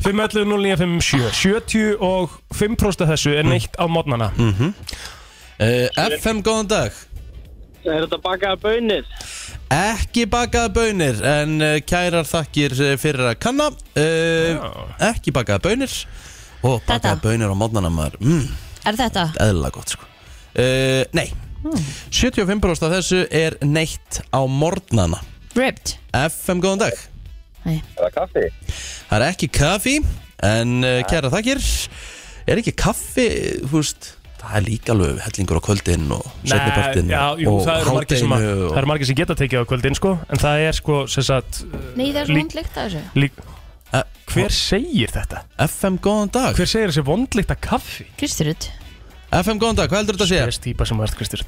511 0957 75% af þessu er neitt á mótnana
uh, FM, góðan dag
Er þetta bakaða bönir?
Ekki bakaða bönir en uh, kærar þakkir uh, fyrir að kanna uh, Ekki bakaða bönir og bakaða
Þetta.
bönir á mótnana maður mm,
Er þetta?
eðla gott sko uh, Nei
Hmm.
75% af þessu er neitt á morgnana
Ripped?
FM, góðan dag
Nei,
Er það kaffi?
Það er ekki kaffi en uh, kærar þakkir Er ekki kaffi, húst Það er líka alveg hellingur á kvöldin og setnipartin
já, jú,
og
það eru margir sem að,
hádeginu og-
það eru margir sem geta tekið á kvöldin sko, en það er sko, sem sagt uh,
Nei það er
Lík-
svo hundlikt að þessu
lík,
Eh,
hver segir þetta?
FM, góðan dag
Hver segir þessi vondlíkta kaffi?
Kristurud
FM, góðan dag, hvað heldur þetta að sé?
Þess típa sem varst Kristur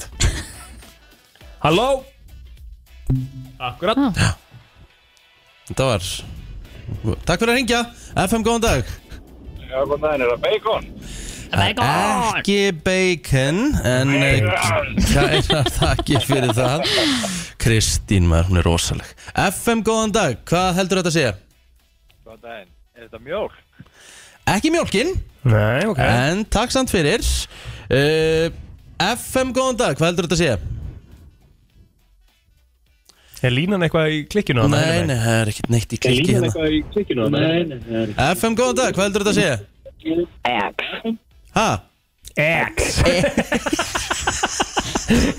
Halló Akkurat
Ah.
Þetta var Takk fyrir að ringja FM góðan dag
Já, hvað það er það bacon?
Ekki bacon En eh, kærar þakki fyrir það Kristín maður, hún er rosaleg FM góðan dag, hvað heldur þetta að segja?
Hvað það er? Er þetta mjólk? Eh?
Ekki mjólkin
Nei, ok
En takk samt fyrir uh, FM góðan dag, hvað heldur þetta að segja?
Er línan eitthvað í klikkinu? þarna
Nei,
hinum
nei,
megin?
það er ekkert neitt í klikki hérna FM góðan dag, hvað heldur þetta að segja?
X.
Ha?
X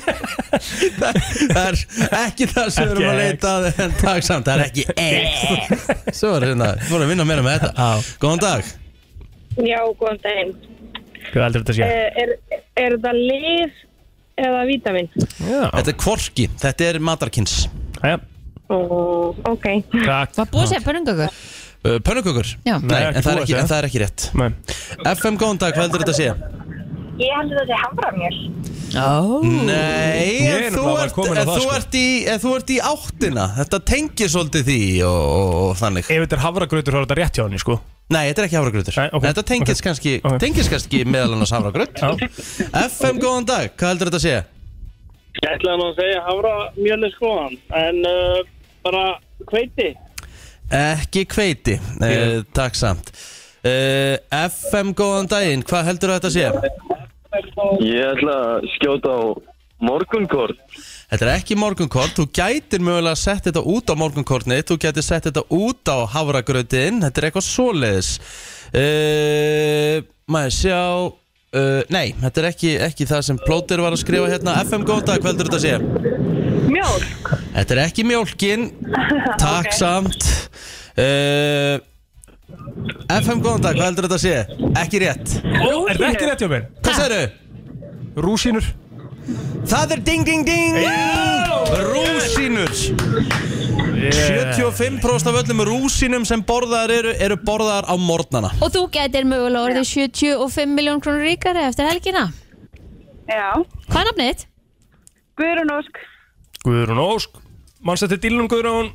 Það er ekki það sem við erum að
Ekki
leita að En takk samt, það er ekki X Svo er hérna, þú voru að vinna meira með þetta Góðan dag
Já, góðan daginn.
Hvað heldur þetta að sé?
Eh, Er, er það lif eða vítamin?
Já,
Þetta er kvorki, þetta er matarkins
já,
Ó, ok.
takk
Var búið að segja pönungakur?
uh, Pönnukökur
Já.
Nei,
Nei,
en, það er
ekki búið að
ekki,
segja.
en það er ekki rétt
Nei.
FM góðan dag, hvað heldur þetta að segja?
Ég heldur það sé hamramjöl.
Ó,
Nei,
Ég er
en þú
nefnilega bara
ert,
kominn á
en
það,
þú
sko.
ert, í, en þú ert í áttina Þetta tengir svolítið því og, og, og þannig
Ef þetta er hafragrautur þá er þetta rétt hjá henni, sko
Nei, þetta er ekki hafragrautur
Nei, ok,
Þetta tengist
ok,
kannski,
ok.
tengist kannski meðal annars hafragraut
Já.
FM, góðan dag, hvað heldur þetta að segja?
Ég ætlaði nú að segja hafra mjöli skoðan, en uh, bara hveiti.
Ekki kveiti, uh, takk samt uh, FM, góðan daginn, hvað heldur þetta að segja?
Ég ætla að skjóta á morgunkort.
Þetta er ekki morgunkort, þú gætir mögulega að setja þetta út á morgunkortni Þú gætir sett þetta út á hafragrautinn, þetta er eitthvað svoleiðis uh, Maður sjá, uh, nei, þetta er ekki, ekki það sem Plóter var að skrifa hérna FM, góðan dag, hvað heldur þetta að segja?
Mjölk.
Þetta er ekki mjólkin Takk samt uh, FM góðan dag, hvað heldur þetta að sé? Ekki rétt
Ó, er þetta ekki rétt hjá mér?
Hvað segirðu?
Rúsínur
Það er ding ding ding Rúsínur 75% af öllum rúsínum sem borðaðar eru eru borðaðar á morgnana
Og þú getur mögulega orðið 75 miljón krónur ríkari eftir helgina.
Já.
Hvað er nafnið þitt?
Guðrun Ósk.
Guðrún Ósk Manst þetta dílunum Guðrún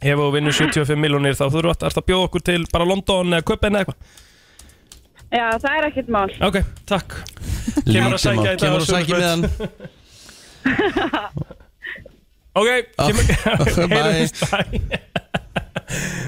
Ef þú vinnur 75 miljónir þá þú ert að bjóða okkur til bara London eða Köpen eða eitthvað
Já, það er ekkert mál.
Ok, takk Kemur að sækja í
Kemur að
dag á
sækja
sömu
með hann
Ok, kemur
Ah, bye.
Heyrumst, bye.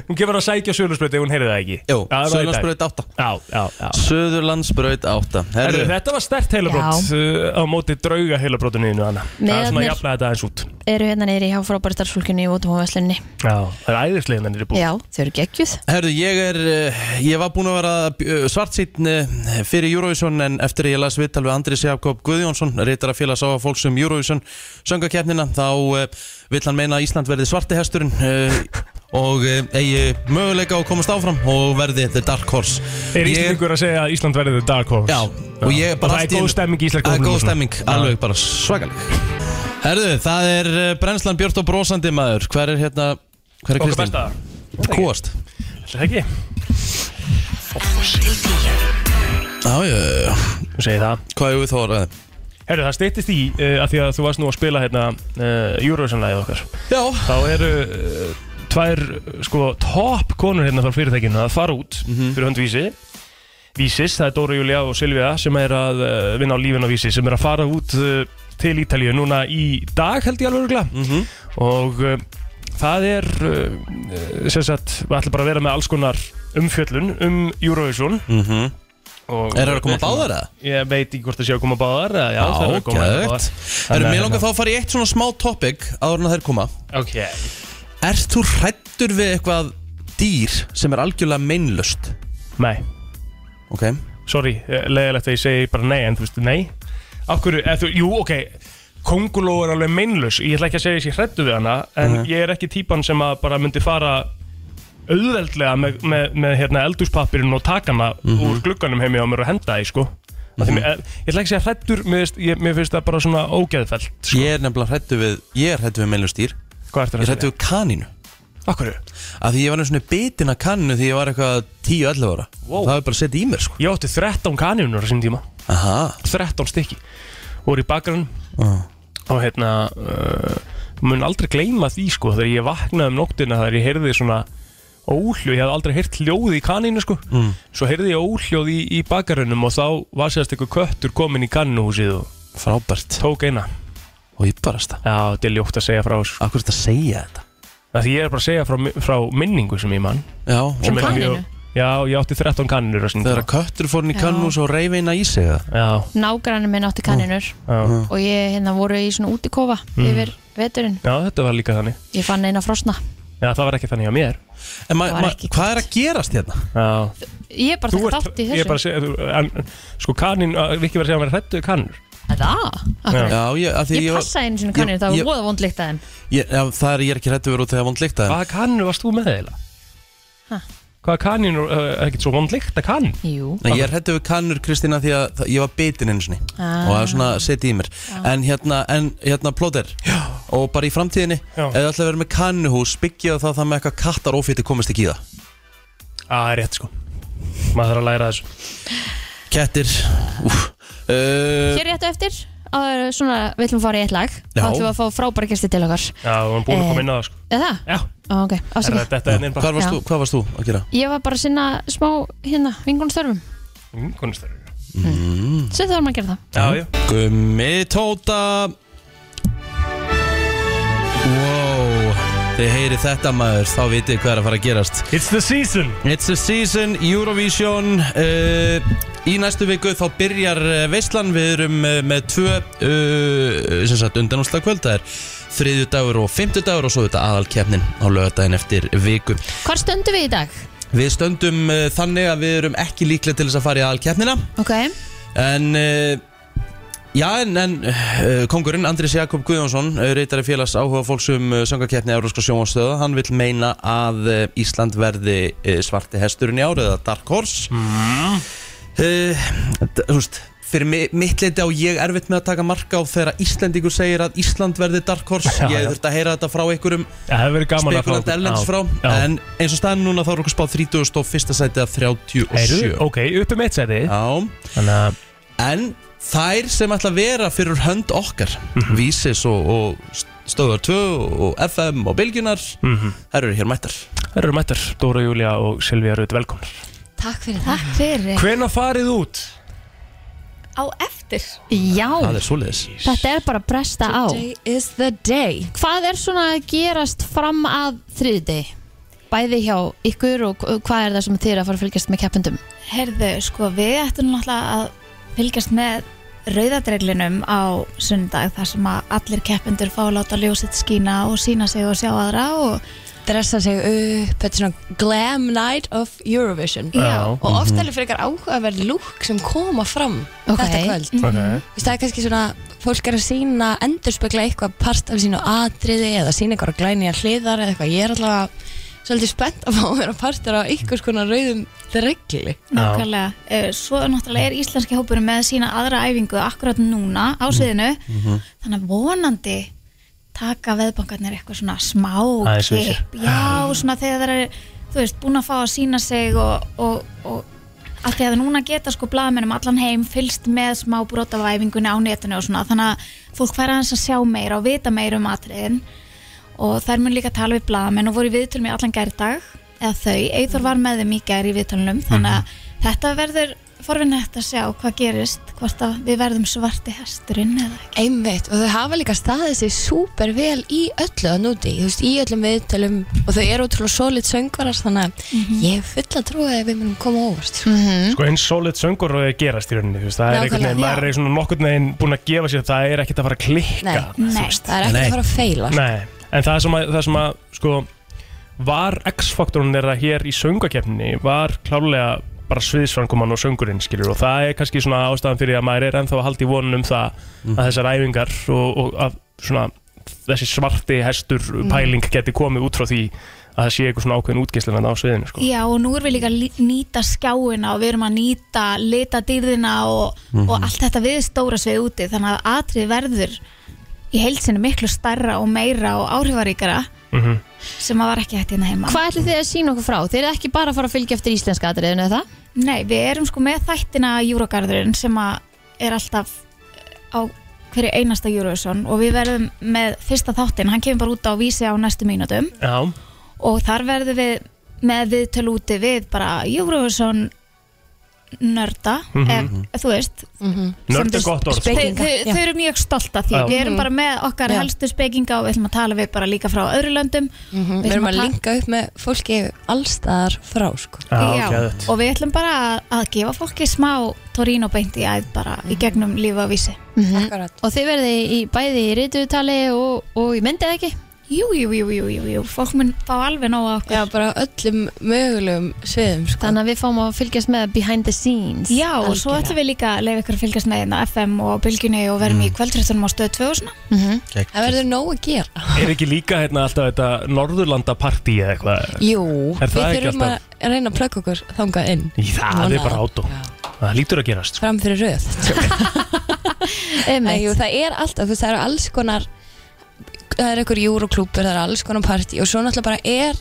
Hún kemur að sækja Söðursbröti Hún heyrði það ekki
Jú,
Já, það var í dag.
Söðurlandsbraut 8
Já, já, já
Söðurlandsbraut 8
Herru,
Herru,
þetta var stert heilabrót
Já.
uh, á móti drauga heilabrótinu þínu, Anna. Það er svona að
Meðarnir-
jafna þetta aðeins út.
Eru hérna neyri hjá frábæri starfsfólkinu í Votum og Veslinni.
Já, það er æðislega mennir í búið.
Já, þau eru geggjuð.
Herðu, ég er, eh, ég var búinn að vera svartsýtn fyrir Eurovision en eftir að ég las viðtal við Andris Jakob Guðjónsson, reytar að félags á fólks um Eurovision söngakeppnina, þá eh, vill hann meina að Ísland verði svarti hesturinn eh, og eh, eigi möguleika á að komast áfram og verði The Dark Horse.
Er
Ég-
Íslandingur að segja að Ísland verði the dark horse?
Já, og ég bara allt
Það
í
er góð
einu-
stemming í Ísland
Það er góð stemming, alveg bara svakaleg Herðu, það er eh, brennslan Björn og Brósandi maður Hver er hérna, hver er
Okkar
Kristín?
besta
Kúast
Það er ekki
Já, já, já, já.
Þú segir það
hvað er við þó að ræða?
Herru, það steyttist í uh, að því að þú varst nú að spila hérna uh, Eurovision-lægið okkar
Já,
Þá eru uh, tvær uh, sko topp konur hérna frá fyrirtækinu að fara út
Mhm.
fyrir hönd Vísi Vísis, það er Dóra Júlia og Silvia sem er að uh, vinna á lífin á Vísi sem er að fara út uh, til Ítalíu núna í dag held ég alveg örgla
Mhm.
og uh, það er uh, sem sagt, við ætlum bara að vera með alls konar umfjöllun um Eurovision
Mhm.
og,
Er það að koma báðar eða?
Ég veit ekki hvort það sé að koma báðar eða Já, það er að koma
geðveikt. Erum mér langar þá að fara í eitt svona smá topic áður en að þeir koma
Ok
Erst þú hrættur við eitthvað dýr sem er algjörlega meinlust?
Nei,
Ok
sorry, leðilegt að ég segi bara nei En þú veist, nei Akkur, eða, þú, Jú, ok Konguló er alveg meinlaus Ég ætla ekki að segja þessi hrættu við hana En ég er ekki típan sem að bara myndi fara auðveldlega með, með, með hérna, eldurspapirinn og takana úr glugganum heimi á mér og henda því sko. mm -hmm. ég, ég ætla ekki að segja hrættur mér, finnst- ég- mér finnst það bara svona ógeðfælt sko.
Ég er nefnilega hrættur við, ég er hrættur við meinlust dýr
Hvað ertu
Ég er
að segja?
hrættur við kanínu
Akkur,
Af því ég var nefnilega svona bitin að kaninu því ég var eitthvað 10-11 ára
Wow.
Það er bara að setja í mér sko
ég átti 13 kanínur á sín tíma
Aha Mm.
13 stykki voru í bakgrunn og hérna uh, mun aldrei gleyma því sko þegar ég vaknaði um nóttina þegar ég heyrði svona óhljóð, ég hafði aldrei heyrt hljóð í kaninu sko
Mm.
svo heyrði ég óhljóð í, í bakarunum og þá var sérst einhver köttur komin í kannuhúsið og
Frábært
tók eina
Og ég barast það
Já, þetta er ljótt að segja frá þessu
Akkur er þetta að segja þetta
Það því ég er bara að segja frá, mi- frá minningu sem ég mann
Já
sem
og
er
kaninu?
mjög- Já, ég átti 13 kannur
Þegar að köttur fór inn í
Já.
kannu og svo reyfi eina í sig það
Já,
Nágrannin minn átti kaninur
já,
og ég hérna voru í svona útikofa yfir veturinn.
já, þetta var líka þannig
Ég fann eina frosna.
Já, það var ekki þannig hjá mér
En ma,
Það var
ma,
ekki
hvað er að gerast hérna?
Já,
Ég er bara
þú
þekkt
ert,
átt í
ég er bara að
þessu.
segja þú- en, Sko kanin, að- Viki var að segja að hann var hrættu kannur
Er Það? Akkur.
Já, ég, að því
Ég
var-
passaði einu sinni
ég-
kaninu, það
ég-
var voða vondlíkt að þeim.
Ég, já, það er ég er ekki hrættu verið út þegar vond líkt að
Hvaða kannur varst þú með eiginlega?
Ha?
Hvaða kanin, uh, ekkert svo vondlíkt að kann
Jú.
Nei, ég er hrættu við kannur Kristína því að það- ég var bitin einu sinni
Ah.
og það er svona setið í mér en hérna, en hérna plóter og bara í framtíðinni,
Já.
ef það ætla að vera með kannuhús byggja það það með eitthvað kattar ófýtti komist ekki í það
Á, það er rétt sko Maður þarf að læra þessu
Kettir úf, uh,
Hér réttu eftir, áður en svona, við ætlum að fara í eitt lag.
Já.
Þá ætlum við að fá frábæra gæsti til okkar.
Já, við erum búin að
Eh.
koma inn á það sko
Er það?
Já,
Ó, ok,
þetta,
afsakið.
þetta hérna er neinn bara
hvað, varst
Já.
þú, hvað varst þú að gera?
Ég var bara að sinna smá hérna, vingunstörfum.
Vinkonustörf
Svo þarf maður að gera það.
Já, já
Gummi Tóta Wow Þið heyri þetta maður, þá vitið hvað er að fara að gerast
It's the season
It's the season, Eurovision uh, Í næstu viku þá byrjar eh, veislan Við erum uh, með tvö uh, sem sagt undanúsla kvöld Það er þriðju dagur og fimmtu dagur og svo þetta aðalkeppnin á lögadaginn eftir viku
Hvar stöndum við í dag?
Við stöndum uh, þannig að við erum ekki líklega til þess að fara í aðalkeppnina
Ok,
En uh, Já, en, en uh, kongurinn Andrés Jakob Guðjónsson, uh, reytari félags áhuga fólks um uh, söngakeppni Európska sjónvastöða, hann vill meina að uh, Ísland verði uh, svarti hesturinn í árið, eða Dark Horse. Mm.
Mhm.
Uh, d- þú veist, fyrir mi mitt leiti á ég erfitt með að taka marka á þegar Íslendingur segir að Ísland verði Dark Horse.
Já, já.
ég þurfti að heyra þetta frá einhverjum
Já, það hefur verið gaman að fá
spekulant ellens frá, en eins og staðan núna þá er okkur spáð 31. sætið af 37.
Heyrðu, ok, upp um eitt seti
Já.
Þannig að
En þær sem ætla að vera fyrir hönd okkar Vísis og, og Stöðar 2 og FM og Bilgjunar Þær eru hér mættar
það eru mættar, Dóra Júlia og Silvíja Rut, velkomnar
takk fyrir Takk fyrir
Hvena farið út?
Á eftir
Það
Já,
er svoleiðis
þetta er bara að bresta á
Today is the day
Hvað er svona að gerast fram að þriðdegi? Bæði hjá ykkur og hvað er það sem þið er að fara að fylgjast með keppendum?
Herðu, sko, við ættum náttúrulega að fylgjast með rauðadreglinum á sundag þar sem að allir keppendur fá að láta ljósitt skína og sína sig og sjá aðra og
dressa sig upp, þetta er svona glam night of Eurovision
Já.
og oft er frekar áhugaverð lúk sem koma fram
Ok.
þetta kvöld
Ok,
Hmm?
Þú veist, það er kannski svona, fólk er að sína endurspegla eitthvað part af sínu atriði eða sína eitthvað glænýja hliðar eða eitthvað, ég er alltaf svolítið spennt að fá að vera partur á einhvers konar rauðum dregli
nákvæmlega eh, svo náttúrulega er íslenski hópurinn með sína aðra æfingu akkurat núna
Mm-hmm.
á sviðinu þannig að vonandi taka veðbankarnir eitthvað svona smá
Aðeins við sér.
kipp, já, svona þegar það er þú veist, búin að fá að sína sig og, og, og að því að núna geta sko blaðmennum allan heim fylst með smá brot af æfingunni á netinu og svona þannig að fólk fær aðeins að sjá meira og vita meira um atriðin og þær mun líka tala við blaðmenn og voru í viðtölum í allan gærdag eða þau, Eithor var með þeim í gær í viðtölunum þannig að þetta verður forvinnett að sjá hvað gerist hvort að við verðum svarti hesturinn eða ekki
Einmitt, og þau hafa líka staðið sig súper vel í öllu að núti, þú veist, í öllum viðtölum og þau eru útrúlega solid söngvarar þannig að
Mhm.
ég hef fulla trúið að við munum koma á óvart
sko eins solid söngur og það gerast í rauninni þú veist, Það er einhvern
Nákvæmlega,
veginn, maður er svona nokkurn veginn búin að gefa sér Það er ekkert að fara að klikka
Nei.
þú
Nei.
veist.
Það er ekkert
Nei.
að fara að feila
Nei, en það sem að, það sem að sko, var X-faktorun þeirra hér í söngakefninni var klárlega bara sviðsframkoman og söngurinn skilur og það er kannski svona ástæðan fyrir að maður er ennþá að halda í vonun um það
Mhm.
að þessar æfingar og, og að svona þessi svarti hestur
Mhm.
pæling geti komið út frá því að það sé eitthvað svona ákveðin útgeislan á sviðinu sko.
Já og nú erum við líka að lí- nýta skjáina og við erum að nýta litadýrðina og, og allt þetta við stóra svið úti þannig að atrið verður í heilsinu miklu starra og meira og áhrifaríkara
Mhm.
sem að var ekki hægt hérna heima
Hvað ætlið þið að sína okkur frá? Þið er ekki bara að fara að fylgja eftir íslenska atriðinu eða það?
Nei, við erum sko með þættina Júragarðurinn sem að er alltaf eh, á hverju einasta Eurovision og við verðum með fyrsta þáttinn, hann kemur bara út á vísi á næstu mínutum
Já,
og þar verðum við með viðtöl úti við bara Eurovision nörda mm
Mhm.
þú veist
Mhm.
Nörd er
sem þau-
gott orð, sko.
þau, þau, þau eru mjög stolt af því
Já.
við erum
Mhm.
bara með okkar
Já.
helstu spekinga og við ætlum að tala við bara líka frá öðru löndum
Mhm. Við erum að
ta-
linka upp með fólki allstaðar frá sko.
Já, og við ætlum bara að, að gefa fólki smá Torino beint í æð bara
Mhm.
í gegnum lífa og vísi
Akkurat.
Og þið verði í, bæði í rítutali og, og í myndið ekki?
Jú, jú, jú, jú, jú, jú. fólk mun fá alveg nóg á okkur
Já, bara öllum mögulegum sviðum sko.
Þannig að við fáum að fylgjast með behind the scenes
Já, og svo ætlum við líka að leiða ykkur að fylgjast með hérna FM og bylginni og verðum í kvöldréttunum á stöð 2 og svona
Geggjað.
Það verður nóg að gera
er ekki líka hérna alltaf þetta Norðurlanda partí eða eitthvað
Jú,
Er það
við
ekki
þurfum
alltaf-
að reyna að plugga okkur þangað inn
Í það er
Mánaðar.
bara átó Það lítur að gerast sko.
fram fyrir röð
Einmitt.
Nei, jú, það er alltaf, þú veist, það eru alls konar það eru einhver júroklúpur, það eru alls konar partí og svo náttúrulega bara er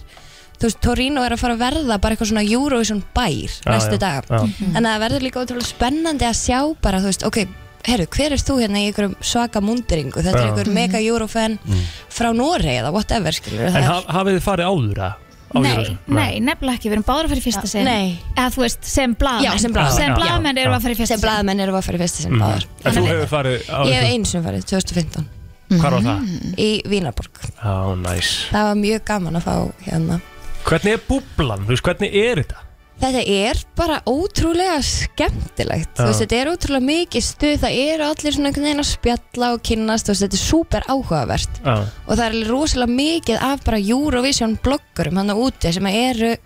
þú veist, Torino er að fara að verða bara eitthvað svona Eurovision bær
Já,
næstu Mhm.
já,
dag
já.
en það verður líka ótrúlega spennandi að sjá bara, þú veist, ok, herru, hver er þú hérna í einhverjum svaka mundringu, þetta er
Já.
einhver
Mhm.
mega Eurofan frá Noregi eða whatever, skilur
En haf, hafið þið farið áður að á
Nei,
Eurovision?
nei, nefnilega ekki, við erum báður að fara í fyrsta sinn
Nei.
Eða þú veist, sem blaðamenn
Já, sem blaðamenn.
Sem
Já.
blaðamenn erum við að fara í fyrsta
sem
sinn
blaðamenn eru að fara í fyrsta sinn
Mhm.
báðar
En þú hefur farið á
ég Mhm. hef eins og farið, 2015
Hvar var það?
í Vínaborg
Á, næs
það var mjög gaman að fá hérna
Hvernig er búblan? Þú veist, hvernig er þetta?
Þetta er bara ótrúlega skemmtilegt, þú
Já.
veist, þetta er ótrúlega mikið stuð, það eru allir svona einhvern veginn að spjalla og kynnast, þú veist, þetta er súper áhugavert
Já,
og það er alveg rosalega mikið af bara Eurovision bloggurum hann úti sem eru,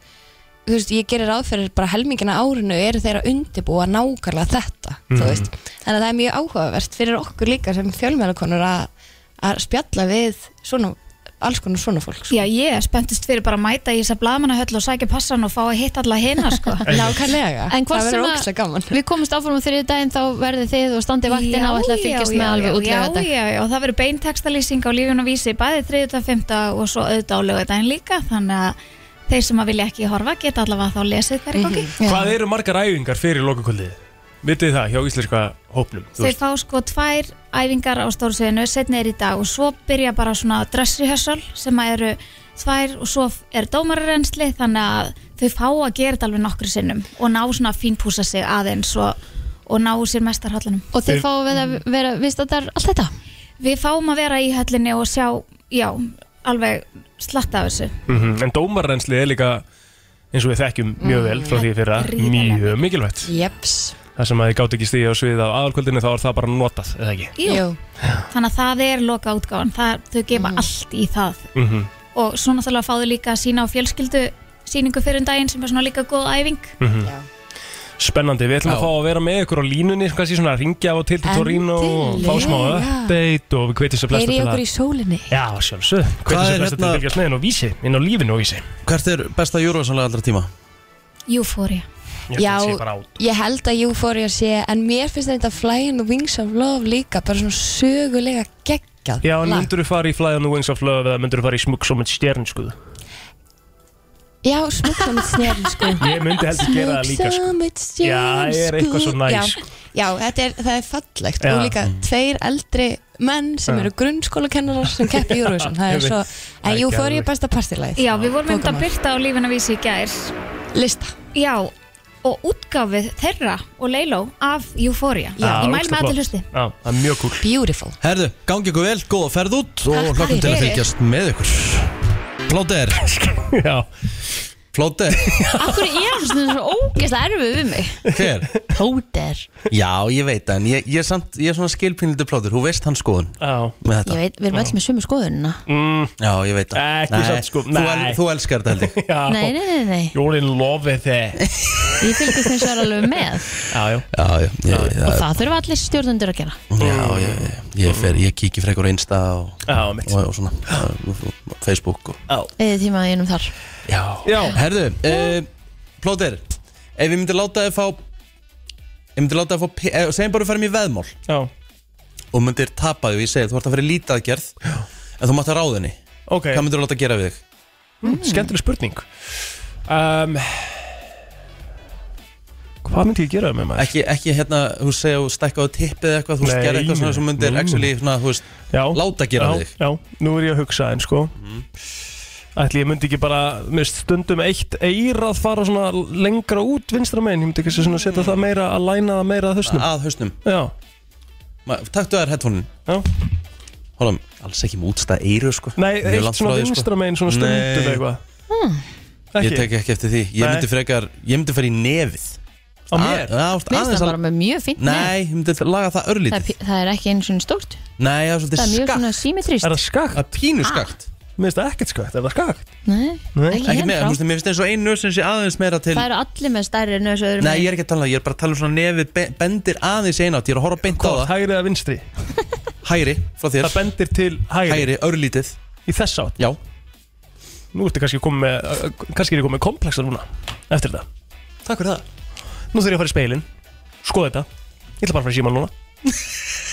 þú veist, ég gerir ráðferðir bara helmingina á árinu eru þeir að undirbúa nákvæmlega þetta, þú
Mhm.
veist, þannig að það er mjög áhugavert fyrir okkur líka sem fjölmjölakonur að, að spjalla við svona, alls konar svona fólk, sko.
Já, ég er spenntist fyrir bara að mæta í þessa blaðamannahöll og sækja passan og fá að hitta alla hina, sko
Nákvæmlega,
En hvort
það verður
sem að-
ógæslega gaman.
Við komumst áfram á þriðju daginn þá verði þið og standi vaktina og ætla að fylgjast með alveg útlega
já, já, já, og það verður beintekstalýsing á lífun og vísi bæði 35. og svo auðvitað á lögadaginn líka þannig að þeir sem að vilja ekki horfa geta allavega þá lesið
Mhm.
hverju gangi
Hvað eru margar æfingar fyrir lokakvöldið? Vitið þið það hjá íslenska hópnum? Þú
Þeir fá sko tvær æfingar á stórsveðinu setni er í dag og svo byrja bara svona dress rehearsal sem að eru tvær og svo er dómararensli þannig að þau fá að gera þetta alveg nokkru sinnum og ná svona að fínpúsa sig aðeins og, og ná sér mestarhallanum
Og þið fáum við að vera viðstættar allt þetta
Við fáum að vera í höllinni og sjá, já, alveg slatta af þessu
Mhm, En dómarrennsli er líka eins og við þekkjum mjög vel frá því fyrir að
Gríðarlega
mjög mikilvægt
Jeps.
Það sem að þið gátt ekki stíða á svið á aðalkvöldinu þá er það bara notað, eða ekki?
Jú.
Þannig að það er loka útgáfan, það, þau gefa allt í það
Mm
og svo náttúrulega fáðu líka að sína á fjölskyldu síningu fyrir um daginn sem er svona líka góð æfing
mhm. Spennandi, við ætlum að fá að vera með ykkur á línunni sem kannski svona að ringja á til til Torino og fá smá
Endilega.
update og við kveitum sér flesta
Heyri
til að
okkur í sólinni
Já, sjálfsög,
Hvað
kveitum
er
sér flesta til
hérna-
að fylgjast með henn og vísi inn á lífinu og vísi
Hvert er besta júrósanlega allra tíma?
Euphoria
Ég
Já,
ætlum að sé bara á
ég held að Euphoria sé En mér finnst þetta Fly in the Wings of Love líka Bara svona sögulega geggjað
Já, en
lag.
myndur þú fara í Fly on the Wings of Love eða myndur þú fara í Smug som en stjern, sko
Já, smugglum snjörn sko
Ég myndi heldur gera það líka, sko
Smugglum snjörn
Já, er eitthvað svo næs,
Já,
sko.
já þetta er, það er
Já.
fallegt
Mm.
Og líka tveir eldri menn sem
Já.
eru grunnskólakennarar sem keppi í Eurovision Það
Ég
er
veit.
svo
Það er
En
geðveikt.
Euphoria er besta partilagið
Já, við vorum um að
Bókamál.
byrta á lífin að vísi í gær
Lista
Já, og útgáfið þeirra og Leiló af Euphoria
Já,
Ég mæl
ógeðslega
með að
flott.
til hlusti
Já, það er mjög cool
Beautiful
Herðu, gangi ykkur vel, góða ferð út og
Takk
hlokkum til að
fyrir.
fylgjast með ykkur Plóter,
Já,
plóter,
Akkur er ég svona svo ógeðslega erfið við mig
hver?
Póter
Já, ég veit það, en ég, ég, er samt, ég er svona skilpínlítið plóter, þú veist hans skoðun
já
með þetta
Ég veit, við erum öll með sömu skoðunina
mm,
Já, ég veit það
Ekki samt sko,
Þú,
nei.
el, þú elskar þetta held ég
Já,
Nei, nei, nei, nei
You're in love with it
Ég fylgist þess að alveg með
Já, já
Já, já, ég, já,
Og það þurfa allir stjórnendur að gera
já
Mm.
ég, ég, fer, ég kíki frekur á Insta og,
Já, mitt
og, og svona uh, Facebook og
Eða tíma einum þar
Já,
Já.
Herðu, uh, plóter Ef ég myndi láta þið fá Ég myndi láta þið fá pe- eh, Segjum bara að fara mér veðmál
Já,
Og myndir tapa því og ég segi Þú ert að fara í lítaðgerð En þú mátt að ráða henni
ok mm,
Hvað myndir þú láta gera við þig?
Skemmtileg spurning um, Hvað myndi ég gera með maður?
Ekki, ekki hérna, þú veist, segja, þú stækkaðu tippið eða eitthvað, þú veist,
Nei,
gerði eitthvað svona
nei.
sem myndir
Mm.
actually, svona, þú veist,
já,
láta gera
já,
þig. Mhm.
Já, nú er ég að hugsa en sko Ætli ég myndi ekki bara með stundum eitt eirað fara svona lengra út vinstra megin, ég myndi ekki svona setja það meira að læna það meira að hausnum
Að hausnum
Já
Ma, Taktu þær headphone-in
Já
Hólam, alls ekki með útstað eiru sko
Nei,
Mjög
eitt
langt
svona
frá því, sko.
vinstra megin svona stundum
Nei, Hmm.
eitthvað
Ég tek ekki eftir því Ég
Nei.
myndi frekar, ég myndi fara í nefið
Á mér?
Að- að-
Mér finnst
aðeins
það
að-
bara með mjög fínt nef.
Nei, ég myndi laga það
það, er
örlítið
pí- það er ekki einu svona stórt
Nei, það er svolítið
Það er mjög svona Ah,
skakt
symmetrist
það skakt?
Það er pínu skakt
Mér finnst það ekkert skakt, er það skakt?
Nei, ekki
Ekki með,
hérna
þú
frá
veist, mér finnst eins og einu nöð sem sé aðeins meira til
Það eru allir með stærri nös og öðrum
Nei, ég er ekki að tala um það, ég er bara að tala um svona nefið be- bendir aðeins einátt, ég er að horfa beint á það
Hægri eða vinstri?
Hægri, frá þér
Það bendir til hægri
Hægri, örlítið
Í þess átt?
Já
Nú ertu kannski komið með, uh, kannski er ég komið með komplexa núna Eftir þetta
Takk fyrir það
Nú þurfum ég að fara í speilin Skoða þetta Ég ætla bara að fara í síman núna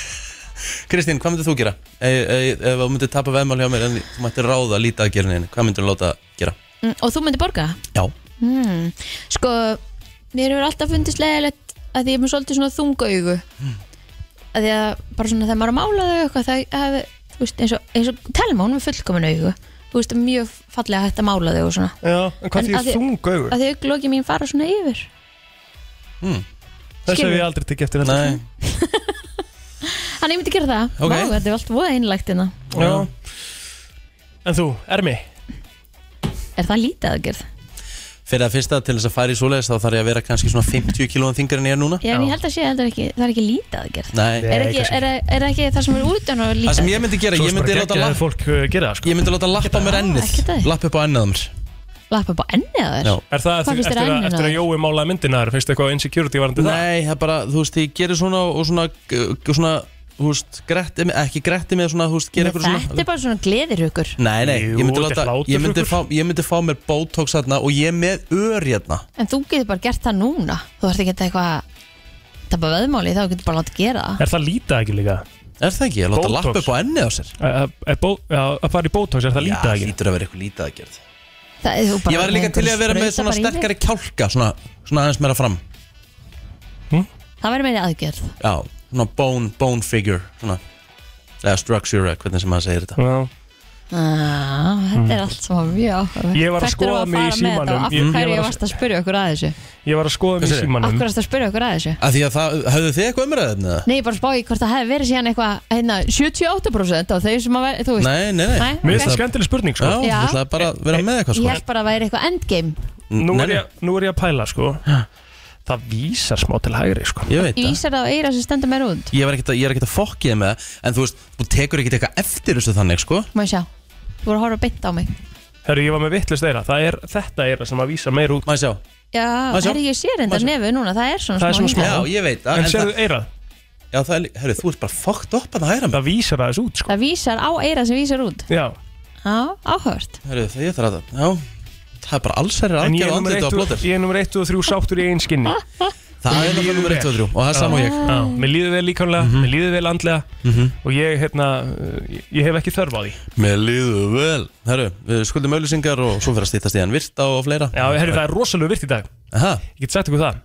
Kristín, hvað myndir þú gera? E, e, ef þú myndir tapa veðmál hjá mér en þú mættir ráða lítið að gera henni Hvað myndir þú láta gera?
Mm, Og þú myndir borga?
Já
Hmm. Sko, mér hefur alltaf fundist leðilegt að því ég er með svolítið svona þungaaugu
Hmm.
að því að bara svona þegar maður er að mála þau eitthvað það hef, þú veist, eins og, eins og telma hún er með fullkomin augu þú veist, mjög fallega hægt að mála þau og svona
Já, en hvað
En að
þýðir
því-
þung augu?
að því auglóki mín fara svona yfir
Þess hef
skilur.
ég aldrei tekið eftir þetta
Hmm, Nei
Þannig ég myndi gera það,
Ok.
Vá, þetta er allt voða einlægt hérna
Já En þú, Ermi?
Er það lítið aðgerð?
Fyrir að fyrsta til þess að fara í svoleiðis þá þarf ég að vera kannski svona 50 kílóðan þingar en ég er núna
Já, en ég held að sé að það er ekki, það er ekki lítið aðgerð
Nei. Nei,
er, ekki,
kannski
er, er ekki það sem er útján og lítið
Það sem ég myndi gera,
Svo
ég
sem
myndi
bara
láta
geggjað
lapp
ef fólk uh, gera það sko
Ég myndi láta lappa á mér
ekkert
ennið
aðeins.
Lappa upp á ennið á mér
Lappa bara ennið að þér
Já.
Er það
Hvað
eftir,
finnst þér
eftir, að,
enninu
eftir að
þér?
Jói málaði myndina þar? Finnst eitthvað insecurity varandi það?
Nei, það er bara, þú veist, ég gerir svona og svona, og svona, þú veist, gretti mig, ekki gretti mig, svona, þú veist, gerir eitthvað svona
Þetta er bara svona gleðirhugur
Nei, nei,
Jú,
ég myndi,
þetta er
láta, ég, myndi
hláturfullur.
fá, ég myndi fá mér botox hérna og ég er með ör hérna
En þú getur bara gert það núna Þú ert ekki eitthvað Það er bara veðmáli, þá getur bara látið gera það
Er það lítið ekki líka?
Er það ekki? Ég láta
Botox?
lappa upp á ennið á sér
Að- að- að bó- já, Að fara í Botox, er það lítið
Já,
ekki?
hlýtur að vera eitthvað lítið að gerð
Það er þú bara
Ég var líka
með
til í að vera með
sprauta
svona
bara í þig.
sterkari kjálka, svona, svona aðeins meira fram
Það væri meiri aðgerð
Já, svona bone, bone figure, svona Eða structure, eða hvernig sem maður segir þetta
Já.
ah, Þetta er allt sem var mjög áhuga
Mm. Ég var að skoða mig í símanum.
Af
Ég- ég
hverju
var að-
varst að spyrja okkur að þessu?
Ég var að skoða mig í
segirðu?
Af
símanum
hverju varst að spyrja okkur að þessu?
Af því að það, höfðu þið eitthvað umræðið með það?
Nei, ég bara spá í hvort það hefði verið síðan eitthvað hérna, 78% á þeir sem að vera, þú veist
Nei, nei, nei,
Nei,
Mér
ok.
finnst það skemmtileg spurning
Já,
sko
ég
Já.
ætlaði bara að vera með eitthvað
Ég
sko
held bara að væri eitthvað endgame
Nú
Nei,
er
nei.
ég, nú er ég að pæla sko Það vísar smá til hægri sko
Ég veit það
Ísar það á eira sem stendur mér út
Ég var ekkert að, ég er ekkert að fokkið með það En þú veist, þú tekur ekkert eitthvað eftir þessu þannig sko
Má ég sjá, þú voru að horfa beint á mig
Herru, ég var með vittlust eira Það er þetta eira sem að vísa meir út
Má ég sjá
Já,
Má ég sjá?
herri, ég sé reynda
Má ég sjá?
nefið núna, það er svona
Það er svona smá.
Já, ég veit það,
En
en
sérðu
það-
eira?
Já, það er, herru, þú ert bara fokkt upp að það hæra mig
Það vísar aðeins út sko
Það vísar á eira sem vísar út
Já
Já, áhört
Herru, það ég þarf að, já Það er bara alls herri
En
aðgerð
ég er
á
nummer
andliti
eitt
og
og-
blóttir
ég er nummer 1 og 3 sáttur í einn skinni
Það er náttúrulega nummer 1 og 3 og það er sama og ég Mhm.
Já, mér líður vel líkamlega, mér líður vel andlega Og ég, hérna, ég, ég hef ekki þörf á því
Mér líður vel Herru, við skuldum auðlýsingar og svo fyrir að stýttast í hann virta og fleira
Já, herru, það er rosalega virt í dag
Aha,
Ég get sagt ykkur það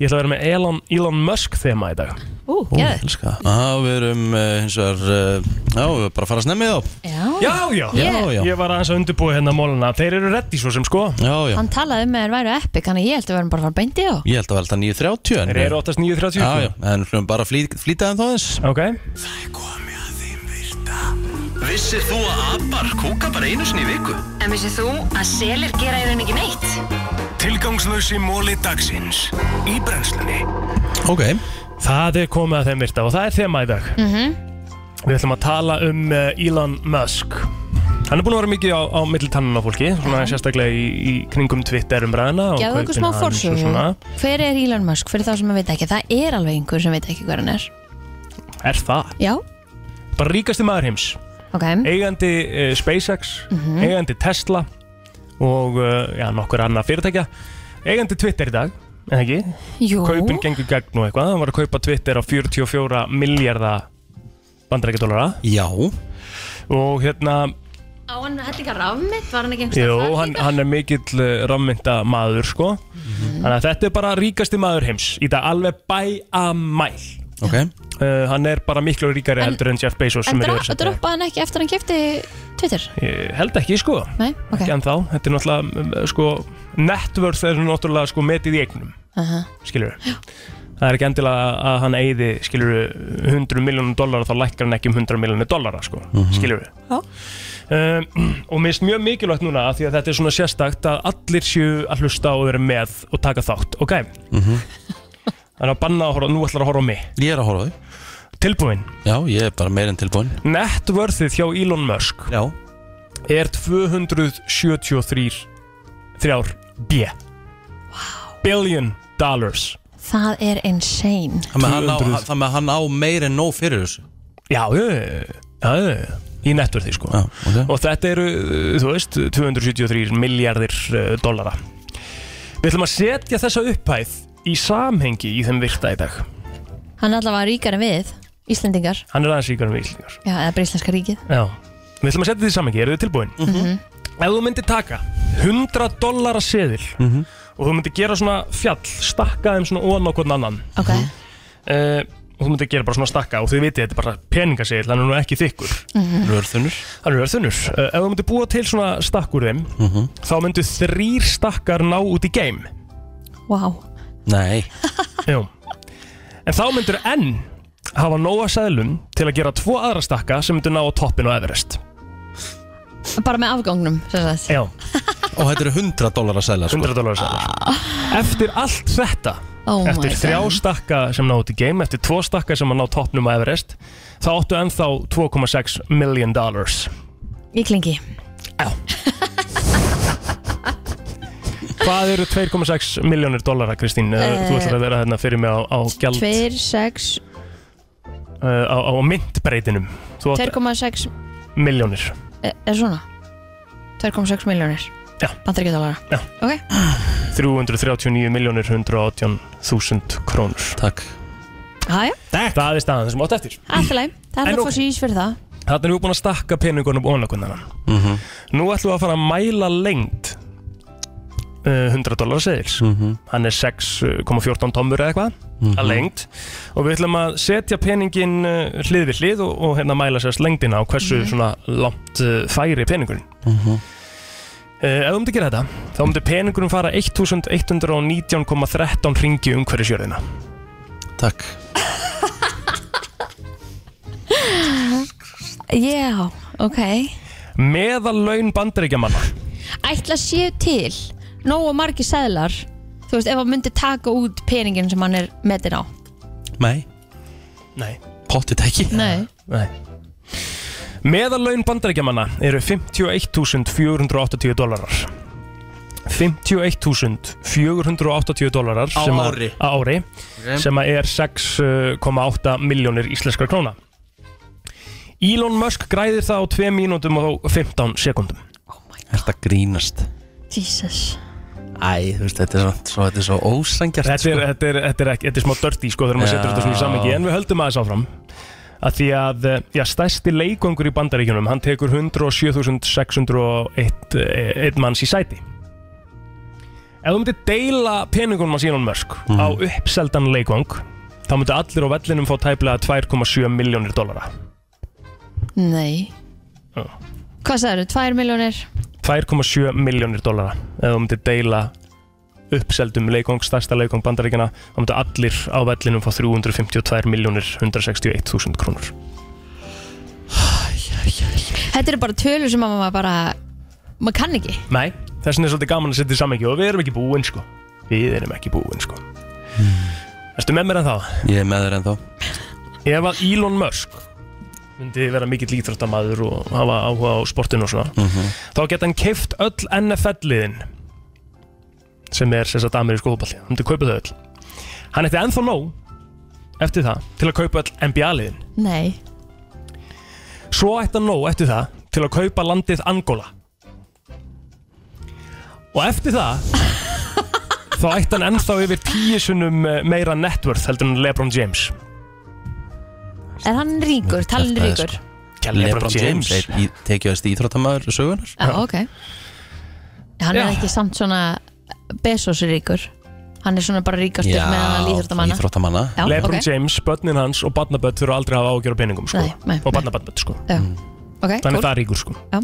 Ég ætla að vera með Elon, Elon Musk þema í dag
Ú,
ó,
geður
elska Aha, við erum uh, hins vegar uh, Já, við erum bara að fara að snemmi þá
Já,
Já, já,
Já, já,
Ég var aðeins að undirbúa hérna mólana Þeir eru reddi svo sem sko
já, já
hann talaði um að þeir væru epic Þannig að ég held að við verðum bara að fara beint í þá
Ég held að velta 9.30 en-
Þeir eru 8.9.30
Já, já, en hljóðum bara að flýta, flýta þeim þá eins
Ok
Vissir þú að abar kúka bara einu sinni í viku?
En vissið þú að selir gera í rauninni ekki neitt?
Tilgangslösi móli dagsins Í brennslunni
Ok,
Það er komið að þeim virta og það er þema í dag
Mhm.
Við ætlum að tala um eh, Elon Musk Hann er búin að vera mikið á, á milli tannuna fólki svona sérstaklega í, í kringum Twitter umræðina og
Gjáðu
kaupin
okkur smá
hans og
fórsögu
svona.
Hver er Elon Musk, fyrir þá sem að veit ekki Það er alveg einhver sem veit ekki hver hann er
Er það?
Já,
Bara ríkasti maður heims
ok
Eigandi uh, SpaceX,
Mhm.
eigandi Tesla og uh, já, nokkur annað fyrirtækja Eigandi Twitter í dag, eða ekki?
Jú,
Kaupin gengur gegn og eitthvað Hann var að kaupa Twitter á 44 miljardar bandarækjadólara
já
og hérna
Á hann hellinga rafmynd, var hann ekki einhvers
Jó,
staðar þar
hann,
líka?
hann er mikill rammynda maður sko
Mhm.
Þannig að þetta er bara ríkasti maður heims Í þetta alveg bæ að mæl Eh,
okay.
Hann er bara miklu ríkari
En-
heldur en Jeff Bezos
En
sem er í
dra-
öðru sæti.
droppaði hann ekki eftir að hann kefti Twitter?
Ég held ekki sko
Nei, ok
Ekki en þá, þetta er náttúrulega mm, sko, Networth er náttúrulega sko metið í eignum
Aha.
Skilur Það er ekki endilega að hann eigði skilur 100 miljónum dollara þá lækkar hann ekki um 100 miljónum dollara sko, mm
Mhm.
skilur um, og mér finnst mjög mikilvægt núna af því að þetta er svona sérstakt að allir séu að hlusta og vera með og taka þátt, ok? Þannig að banna að horfa, nú ætlar að horfa á mig
Ég er að horfa á þig
Tilbúin?
Já, ég er bara meir en tilbúin
Networthið hjá Elon Musk
Já.
er 273 þrjár B Billion dollars
Það er insane
Það með hann á, það með hann á meir en nóg fyrir þessu
Já, já, já, já, já, í netverði sko já,
okay.
Og þetta eru, uh, þú veist, 273 miljardir uh, dollara Við ætlum að setja þessa upphæð í samhengi í þeim virta í dag
Hann er allavega ríkar en við, Íslendingar
Hann er aðeins ríkar en við Íslendingar
Já, eða bara Íslenska ríkið
Já, við ætlum að setja þetta í samhengi, eru þið tilbúin? Ef þú myndir taka 100 dollara seðil og þú myndir gera svona fjall, stakka þeim svona ofan á hvern annan
Ok
uh, og þú myndir gera bara svona stakka og þið vitið þetta er bara peningaseðil, hann er nú ekki þykkur
Mhm.
Hann er örþunnur
Hann er örþunnur uh, Ef þú myndir búa til svona stakk úr þeim
Mhm.
þá myndir þrýr stakkar ná út í game
Wow
Nei
Jú. En þá myndir enn hafa nóga seðlum til að gera tvo aðra stakka sem myndir ná á toppin og Everest
Bara með afgangnum, sem sagt
Já
Sko. Og þetta eru 100 dólar að selja sko.
100 dólar að selja Eftir allt þetta
Oh my
Eftir þrjá
God.
stakka sem ná út í game Eftir tvo stakka sem að ná toppnum á Everest Þá áttu ennþá 2,6 million dollars
Ég klingi
Hvað eru 2,6 milljónir dollara, Kristín?
Eh,
Uh, þú ætlar að vera hérna fyrir mig á, á gjald
2, 6,
uh, á, á myndbreytinum Þú átt
2,6
miljónir
e- Er svona 2,6 miljónir
Já.
Bandaríkja dólara
Já.
Ok
339 miljónir 118.000 krónur
Takk
Hæja,
Það er staðan þessum átt eftir
allt í lagi Það er það
En
að
ok.
fá sér ís fyrir það
Þarna erum við búin að stakka peningunum ónlakunnar
mm -hmm.
Nú ætlum við að fara að mæla lengd uh, 100 dólar seðils
mhm,
Hann er 6,14 tommur eða eitthvað að lengd og við ætlum að setja peningin uh, hlið við hlið og, og hérna mæla sérst lengdina og hversu svona langt uh, færi peningurinn
Mhm,
Uh, ef þú myndir gera þetta, þá myndir peningurinn fara 1119,13 ringi umhverju sjörðina.
Takk.
Já, ok
Meðal laun bandaríkjamanna.
Ætla séu til Nóa margi seðlar Þú veist, ef hann myndi taka út peningin sem hann er metin á
Nei
Nei
Pottit ekki
Nei
Nei. Meðal laun bandaríkjamanna eru 51.480 dólarar. 51.480 dólarar
Á
sem að-
ári.
á ári
Ok.
sem að er 6,8 miljónir íslenskra króna. Elon Musk græðir það á 2 mínútum og 15 sekundum.
Þetta grínast
Jesus
Æ, þú veist, þetta er svo, svo, þetta er svo ósangjart
þetta er, þetta, er, þetta, er ekki, þetta er smá dirty sko þegar maður
sko. Já.
setur þetta svona í samengi en við höldum aðeins áfram að því að eh, já, stærsti leikvangur í bandaríkjunum hann tekur 107.601 eh, einn manns í sæti ef þú myndir deila peningunum að síðan mörsk á uppseldan leikvang þá myndir allir á vellinum fá tæplega 2,7 miljónir dollara
Nei
Já.
Hvað sagðið, 2 miljónir
2,7 miljónir dollara ef þú myndir deila uppseldum leikong, stærsta leikong bandaríkjana þá myndir allir á vellinum fá 352 miljónir 161.000 krónur
Þetta eru bara tölur sem að maður bara maður kann ekki
Nei, þess vegna er svolítið gaman að setja í samhengi og við erum ekki búin sko Við erum ekki búin sko Erstu með mér en þá?
Ég er með þér ennþá
Ef að Elon Musk myndi vera mikill íþróttamaður og hafa áhuga á sportinu og svona
Mhm.
þá geta hann keift öll NFL-liðin sem er sem sagt amerísku hópalli hann myndi kaupa þau öll hann ætti ennþá nóg eftir það til að kaupa öll NBA-liðin
Nei
svo ætti hann nóg eftir það til að kaupa landið Angola og eftir það þá ætti hann ennþá yfir tíu sunnum meira networth heldur en LeBron James
Er hann ríkur, talin
Kjaftaði,
ríkur
geggja Lebron James er í- tekjuðast íþróttamæður sögunar
Já, Ah, ok Hann
Já.
er ekki samt svona Bezos ríkur Hann er svona bara ríkastur
Já,
með hann að íþróttamanna Já,
Lebron
ok.
James, börnin hans og barnaböld þurfa aldrei að hafa ágjör á peningum sko.
Nei, nei,
og barnabarnaböld sko.
Já.
Mm.
Ok,
þannig
cool.
það er ríkur sko.
Já.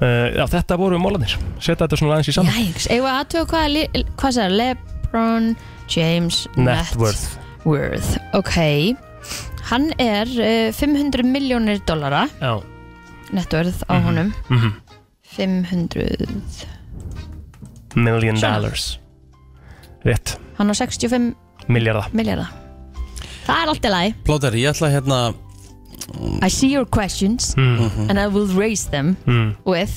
Uh, já, þetta voru mólanir setja þetta svona aðeins í saman
Jæks, eigum við að aðtöga hvað, li- hvað sér Lebron James
net worth
Worth Ok, hann er uh, 500 miljónir dollara
já.
nettvörð á
Mhm.
honum
Mhm.
500
million
Svona.
dollars rétt,
Hann á 65
miljarda
miljarda Það er allt í lagi
Plóter, ég ætla hérna
I see your questions
Mm.
Mhm.
and I will raise them
Mhm.
Mm.
with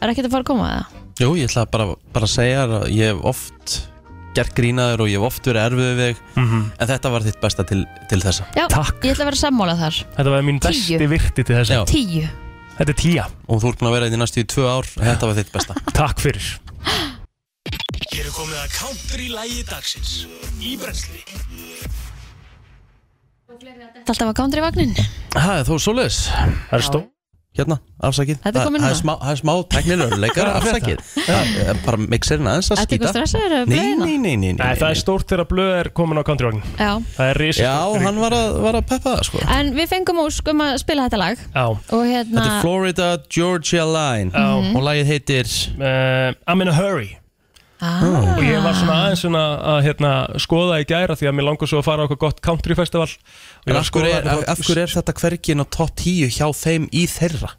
Er ekkert að fara að koma að það?
Jú, ég ætla bara, bara að segja þér að ég hef oft gert grínaður og ég hef oft verið erfið við þig
Mhm.
en þetta var þitt besta til, til þessa
Já, ég ætla að vera sammála þar
Þetta var mín
Tíu.
besti virti til þess
Tíu
Þetta er tíja
Og þú ert búin að vera í næstu í tvö ár Þetta var þitt besta
Takk fyrir
Hér er komið að kántur í lægi dagsins Í brensli
Þetta er alltaf að country vagnin
Það er þó svoleiðis Það
er stó
Hérna, afsakið
Þetta er komið núna.
Það er smá, það er smá teknileguleikar, afsakið Það er bara mixerinn aðeins að
Ertu
skýta
eitthvað stressaður að
Nei,
blöðina?
nei, nei, nei, nei.
Nei, það er stórt þegar blöð er komin á countrywagn
Já.
Það er risið
Já, hann var að, var að peppa það sko
En við fengum úsk um að spila þetta lag
Já
Og hérna
Þetta er Florida Georgia Line
Já.
Og lagið heitir
uh, I'm in a hurry
ah.
Og ég var svona aðeins svona að hérna, skoða í gæra því að mér langar svo að fara á eitthvað gott country festival
En af
sko,
hverju er, af hverju er þetta hvergin á top 10 hjá þeim í þeirra?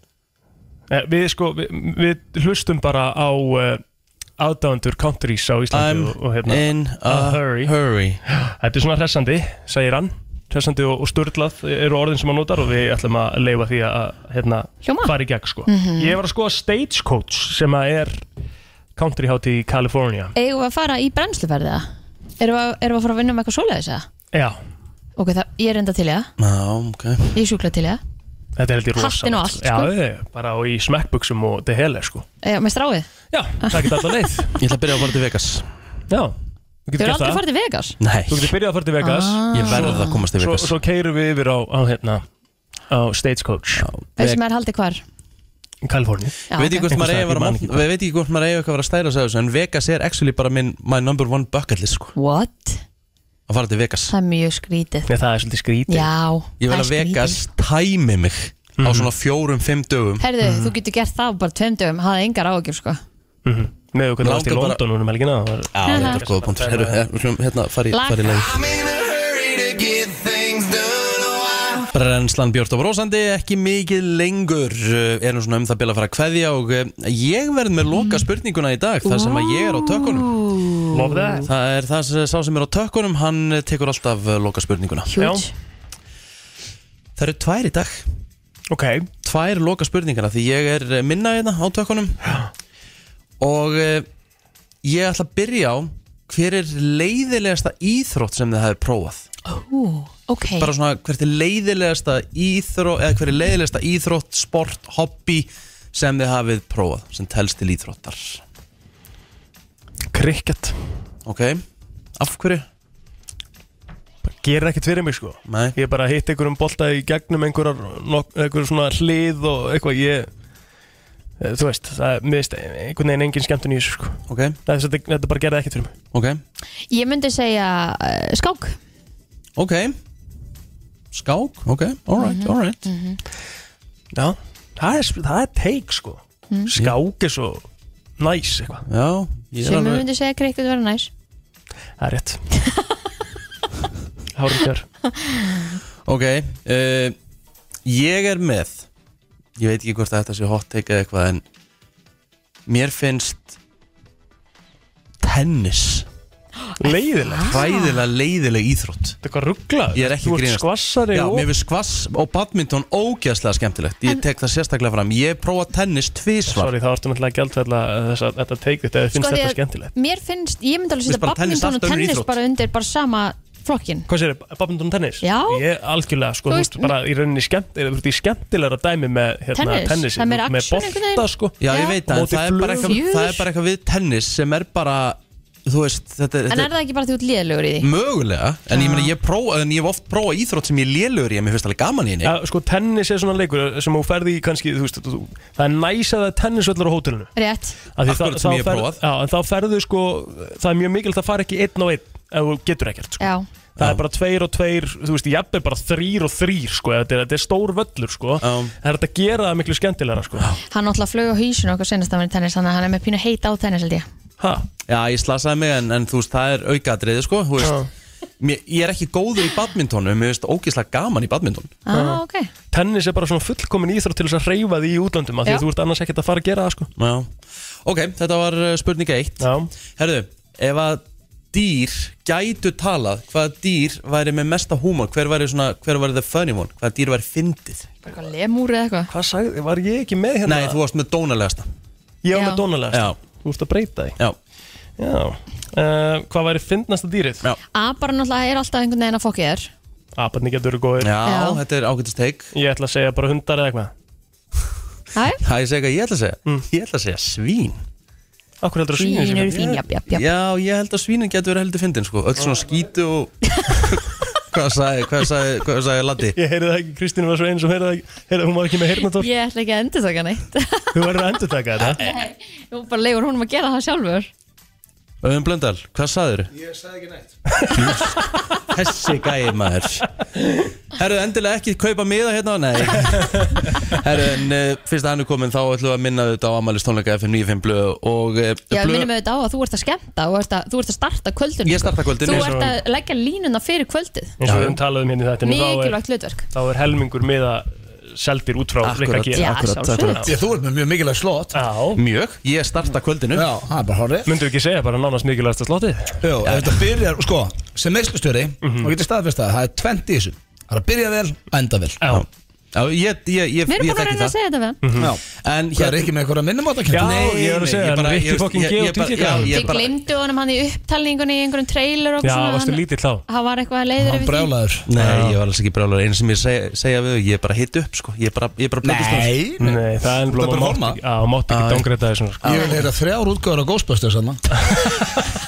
Eh, Við sko, við, við hlustum bara á uh, aðdáendur countries á Íslandi
I'm
og, og hérna
in a
hurry. Þetta er svona hressandi, segir hann hressandi og, og sturlað eru orðin sem hann notar og við ætlum að leifa því að hérna,
Hljóma.
fara í gegn sko
Mhm.
Ég var að skoða Stagecoach sem að er country hát í California
Eigum við að fara í brennsluferðið það? Erum við, að- erum við að fara að vinna um eitthvað svoleiðis það?
Já,
Ok, það, ég er enda til í það
Já, ok
Ég er sjúkla til í það
Þetta er held ég rosa
Hattinn og allt,
Já,
sko.
ég, bara og í smekkbuksum og det hele sko
Já, með stráið
Já, það geta alltaf leið
Ég ætla að byrja að fara til Vegas
Já
Þau eru aldrei farið til Vegas
Nei
Þú getur byrjað að fara til Vegas
Ah. Ég verð
Svo-
að komast til Vegas.
Svo, svo keirum við yfir á, á hérna á Stagecoach
Veist sem er haldið hvar?
Kaliforni
Já,
Ég veit ekki
ok.
hvort maður eigi að vera
Einhvers
man-
staðar, ég man ekki
Við veit ekki hvort maður eigi eitthvað að vera að stæra sig af þessu En Vegas er actually bara minn My number one bucket list sko
What?
Að fara til Vegas
Það er mjög skrítið
Nei, það er svolítið skrítið
Já,
Ég vil
það
að
er
Vegas tæmi mig Á svona fjórum, fimm dögum
Herðu, þú getur gert það á bara tveim dögum Hafði engar ágjur sko
Með okkur
Langar
nátt í
bara-
London núna um helgina Já,
þetta er góða punktur Herru, her- við skulum hérna fara í,
Lag.
fara í leið Brennslan Björn og Rósandi ekki mikið lengur uh, erum svona um það bila að fara að kveðja og uh, ég verð með loka spurninguna í dag þar sem að ég er á tökkunum
Love that.
Það er það sem sá sem er á tökkunum hann uh, tekur alltaf uh, loka spurninguna
Huge.
Það eru tvær í dag
Ok
Tvær loka spurningana því ég er uh, minna hérna á tökkunum og uh, ég ætla að byrja á hver er leiðilegasta íþrótt sem þið hafi prófað
Ú, ok
bara svona hvert er leiðilegasta íþrótt eða hver er leiðilegasta íþrótt, sport, hobby sem þið hafið prófað sem telst til íþróttar
Krikket
ok, af hverju?
Gerir ekkert fyrir mig sko
Nei.
Ég bara hitt einhverjum bolta í gegnum einhverjar nok- einhver svona hlið og eitthvað ég eh, Þú veist, það er miðst einhvern veginn engin skemmtun í þessu sko
okay.
þetta, þetta bara gerði ekkert fyrir mig
ok,
Ég myndi segja uh, skák
ok skák, ok, alright, alright
Já, það er, það er teik sko mm. Skák er svo næs eitthvað
Já,
Sumir myndi segja krikket vera næs
Það er rétt Hárikjör
ok uh, ég er með ég veit ekki hvort að þetta sé hot take eða eitthvað en mér finnst tennis
Leiðilegt
hræðilega leiðileg íþrótt
Þetta er hvað ruggla
Ég er ekki
Þú ert
grínast.
skvassari
Já,
og-
mér finnst skvass og badminton ógeðslega skemmtilegt Ég tek það sérstaklega fram Ég prófa tennis tvísvar
Sorry, þá ertu náttúrulega gjaldfælla þess að þetta teik þetta eða finnst
Sko, því
þetta
að
skemmtilegt
Mér finnst, ég myndi alveg
Mér
setja
finnst bara tennis
badminton og
allt önnur
tennis
íþrótt.
bara undir bara sama flokkin
Hvað sér, badminton og tennis?
Já.
Ég algjörlega, sko,
Þú
þú
veist,
veist, bara í rauninni skemmt, er, þú veist, í skemmtilegra dæmi með hérna,
Tennis,
tennis,
það er meira
með
action einhvern veginn.
bolta, sko
Já, ég veit það, en
Móti
það er, bara
flugum.
eitthvað, það er bara eitthvað við tennis sem er bara þú veist, þetta er
En
þetta
er það ekki bara því út liðlegur í
Mm.
því?
Mögulega, en ég meina ég prófa En ég hef oft prófað íþrótt sem ég lélugur í En mér finnst alveg gaman í henni
ja, Sko tennis er svona leikur sem þú ferði í kannski þú veist, þú, Það er næs að það er tennisvöllur á hótelinu
Rétt
Af því
Akkurat sem
það- þá
ég hef
ferð-
prófað.
Já, en þá ferðu sko Það er mjög mikilvægt að fara ekki einn á einn Ef þú getur ekkert sko.
Já
Það er bara tveir og tveir, þú veist, jafnveg bara þrýr og þrýr, sko, þetta er, þetta er stór völlur, sko, það er þetta að gera það miklu skemmtilega, sko.
Hann náttúrulega flög á hýsun okkur senast að vera í tennis Þannig að hann er með pínu heit á tennis held ég
Ha?
Já, ég slasaði mig en, en þú veist, það er aukaðriði sko, þú veist mér, Ég er ekki góður í badminton en Mér finnst ógeðslega gaman í badminton
Ah, ok
Tennis er bara svona fullkomin íþrótt til þess að reyfa því í útlandum, af því
Já.
að þú ert annars ekkert að fara að gera það, sko.
Já. Ok, þetta var uh, spurning 1 Herðu, ef að dýr gætu talað Hvaða dýr væri með mesta húmor Hver væri svona, hver væri the funny one Hvaða dýr væri fyndið
Bara eitthvað lemúr eða eitthvað
Hvað sagði, var ég ekki með hérna?
Nei, þú varst með dónalegasta
Ég var
Já.
með dónalegast Já Þú ert að breyta því
Já
Já uh, Hvað væri fyndnasta dýrið?
Já
Abar náttúrulega er alltaf einhvern veginn að fokkið þér
Aparni getur verið góðir
Já, Já. þetta er ágættist teik
Ég ætla að segja bara hundar eða eitthvað
Hæ?
Það ég segi hvað ég ætla að segja Ég ætla að segja svín
Akkur heldur
að svínin Svín séu eru fyndin? fín, jafn, jafn, jafn.
Já, ég held að svínin getur verið heldur fyndin sko. Öll svona skítu og Hvað sagði, hvað sagði, hvað sagði Latti?
Ég heyrði það ekki, Kristín var svo eins og heyrði það ekki heyrði, Hún var ekki með heyrnatótt
Ég ætla ekki að endur þakka neitt
Þú verður að endur taka þetta
Nú bara leigur honum að gera það sjálfur
Öðum Blöndal, hvað sagðir?
Ég sagði ekki neitt
Þessi gæði maður Herru, endilega ekki kaupa miða hérna Nei Herru, en uh, fyrst að hann er komin þá ætlum við að minna þetta á Amalist tónleika FM 95 blöð og uh,
Já,
blöð-
minnum auðvitað á að þú ert að skemmta og ert að, þú ert að starta kvöldinu
Ég starta kvöldinu.
Þú
Eins og-
ert að leggja línuna fyrir kvöldið
Eins og við höfum talað um hérna í þetta
Mikilvægt hlutverk
Þá er helmingur með að seldir út frá Rikka G.
Já, sjálfsagt.
Ég, Þú ert með mjög mikilvægt slott
Mjög, ég starta kvöldinu
Já, það er bara horrið
Myndu ekki segja bara nánast mikilvægasta slottið?
Jó, ef þetta byrjar, sko, sem meðslustjóri
Mhm.
og getur staðfest að það er 20 í þessu Það er að byrja vel, enda vel
Já,
Já, ég, ég, ég,
Við erum búin
ég
að
þekki
reyna að segja þetta við hann.
Já,
en hérna-
Hvað er ekki með eitthvað að minnum á þetta
Já, ég er að segja, hann Rikki fucking G og DJ Gaga.
Þið glemdu honum hann í upptalningunni í einhverjum trailer og
Já,
svona,
varstu
hann-
lítill þá?
Hann var eitthvað leiður yfir því
Nei, ég var alls ekki brjálaður Einu sem ég segja, segja við þau, Ég er bara hitt upp sko Ég er bara, ég er bara plötustóð.
Nei, nei,
það
Þú
er
ert bara að
mátt
horfa.
ekki, á, mátt ekki dangreita þessum sko.
Ég vil heyra þrjár útgáður á Ghostbusters hann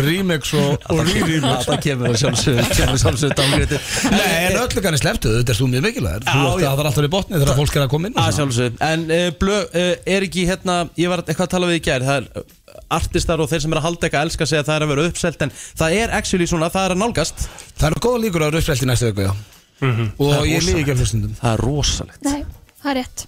Remix og, og re-remix
Það kemur að sjálfsögðu- kemur að sjálfsögðu dangrétið.
Nei, en öllu kanni slepptu, þetta er þú mjög mikilvægur Þú
Já,
ætti
já.
að það er alltaf í botni þegar fólk er að koma inn og
Að
svona.
sjálfsögðu En uh, blö, uh, er ekki hérna Ég var eitthvað að tala við í gær Það er uh, artistar og þeir sem er að halda eitthvað Elskar segja að það er að vera uppselt En það er actually svona, það er að nálgast
Það eru góða líkur á rauðspelti næstu viku, já
Mhm.
Það er
Og ég líði
rosalegt.
ekki af hlustundum
Það er rosalegt
Nei, það er rétt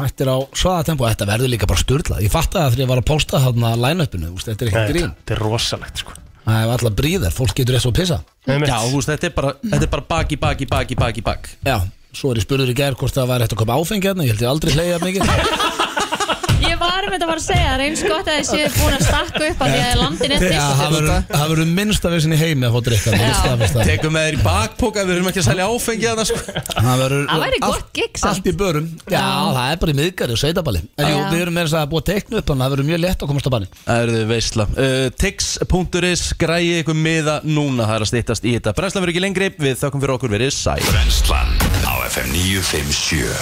Þetta er á svaða tempo, þetta verður líka bara sturlað Ég fatt að það þegar ég var að pósta þarna line-upinu úst, Þetta er
Nei,
ekki grín
Þetta er rosalegt sko
Það er alltaf bríðar, fólk getur eins og pissa
Já, þú veist, þetta er bara, þetta er bara bak í bak í bak í bak í bak
Já, svo er ég spurður í gær hvort það var hægt að koma áfengi hérna Ég held ég aldrei hleyja mikið
Ég var með þetta bara að segja, það er eins gott að þið séu búin að stakka upp að því að landin er
Já, Það
tilstöð
verður- það verður minnsta vissin í heimi að fá drikka
Já.
Tekum með þér í bakpoka, við erum ekki að selja áfengi að það sko
Það verður
Það væri gott
allt-
gig
Allt í börum Já, það er bara í miðgari og sveitaballi En jú,
Já.
við erum með þess að búa teiknu upp Þannig að það verður mjög lett að komast á banni
Það eru þau veistla uh, Tix.is, græði ykkur miða núna Það er að stýttast í þetta Brænslan verður ekki lengri Við þökkum fyrir okkur verið sæl
Brennslan á FM 957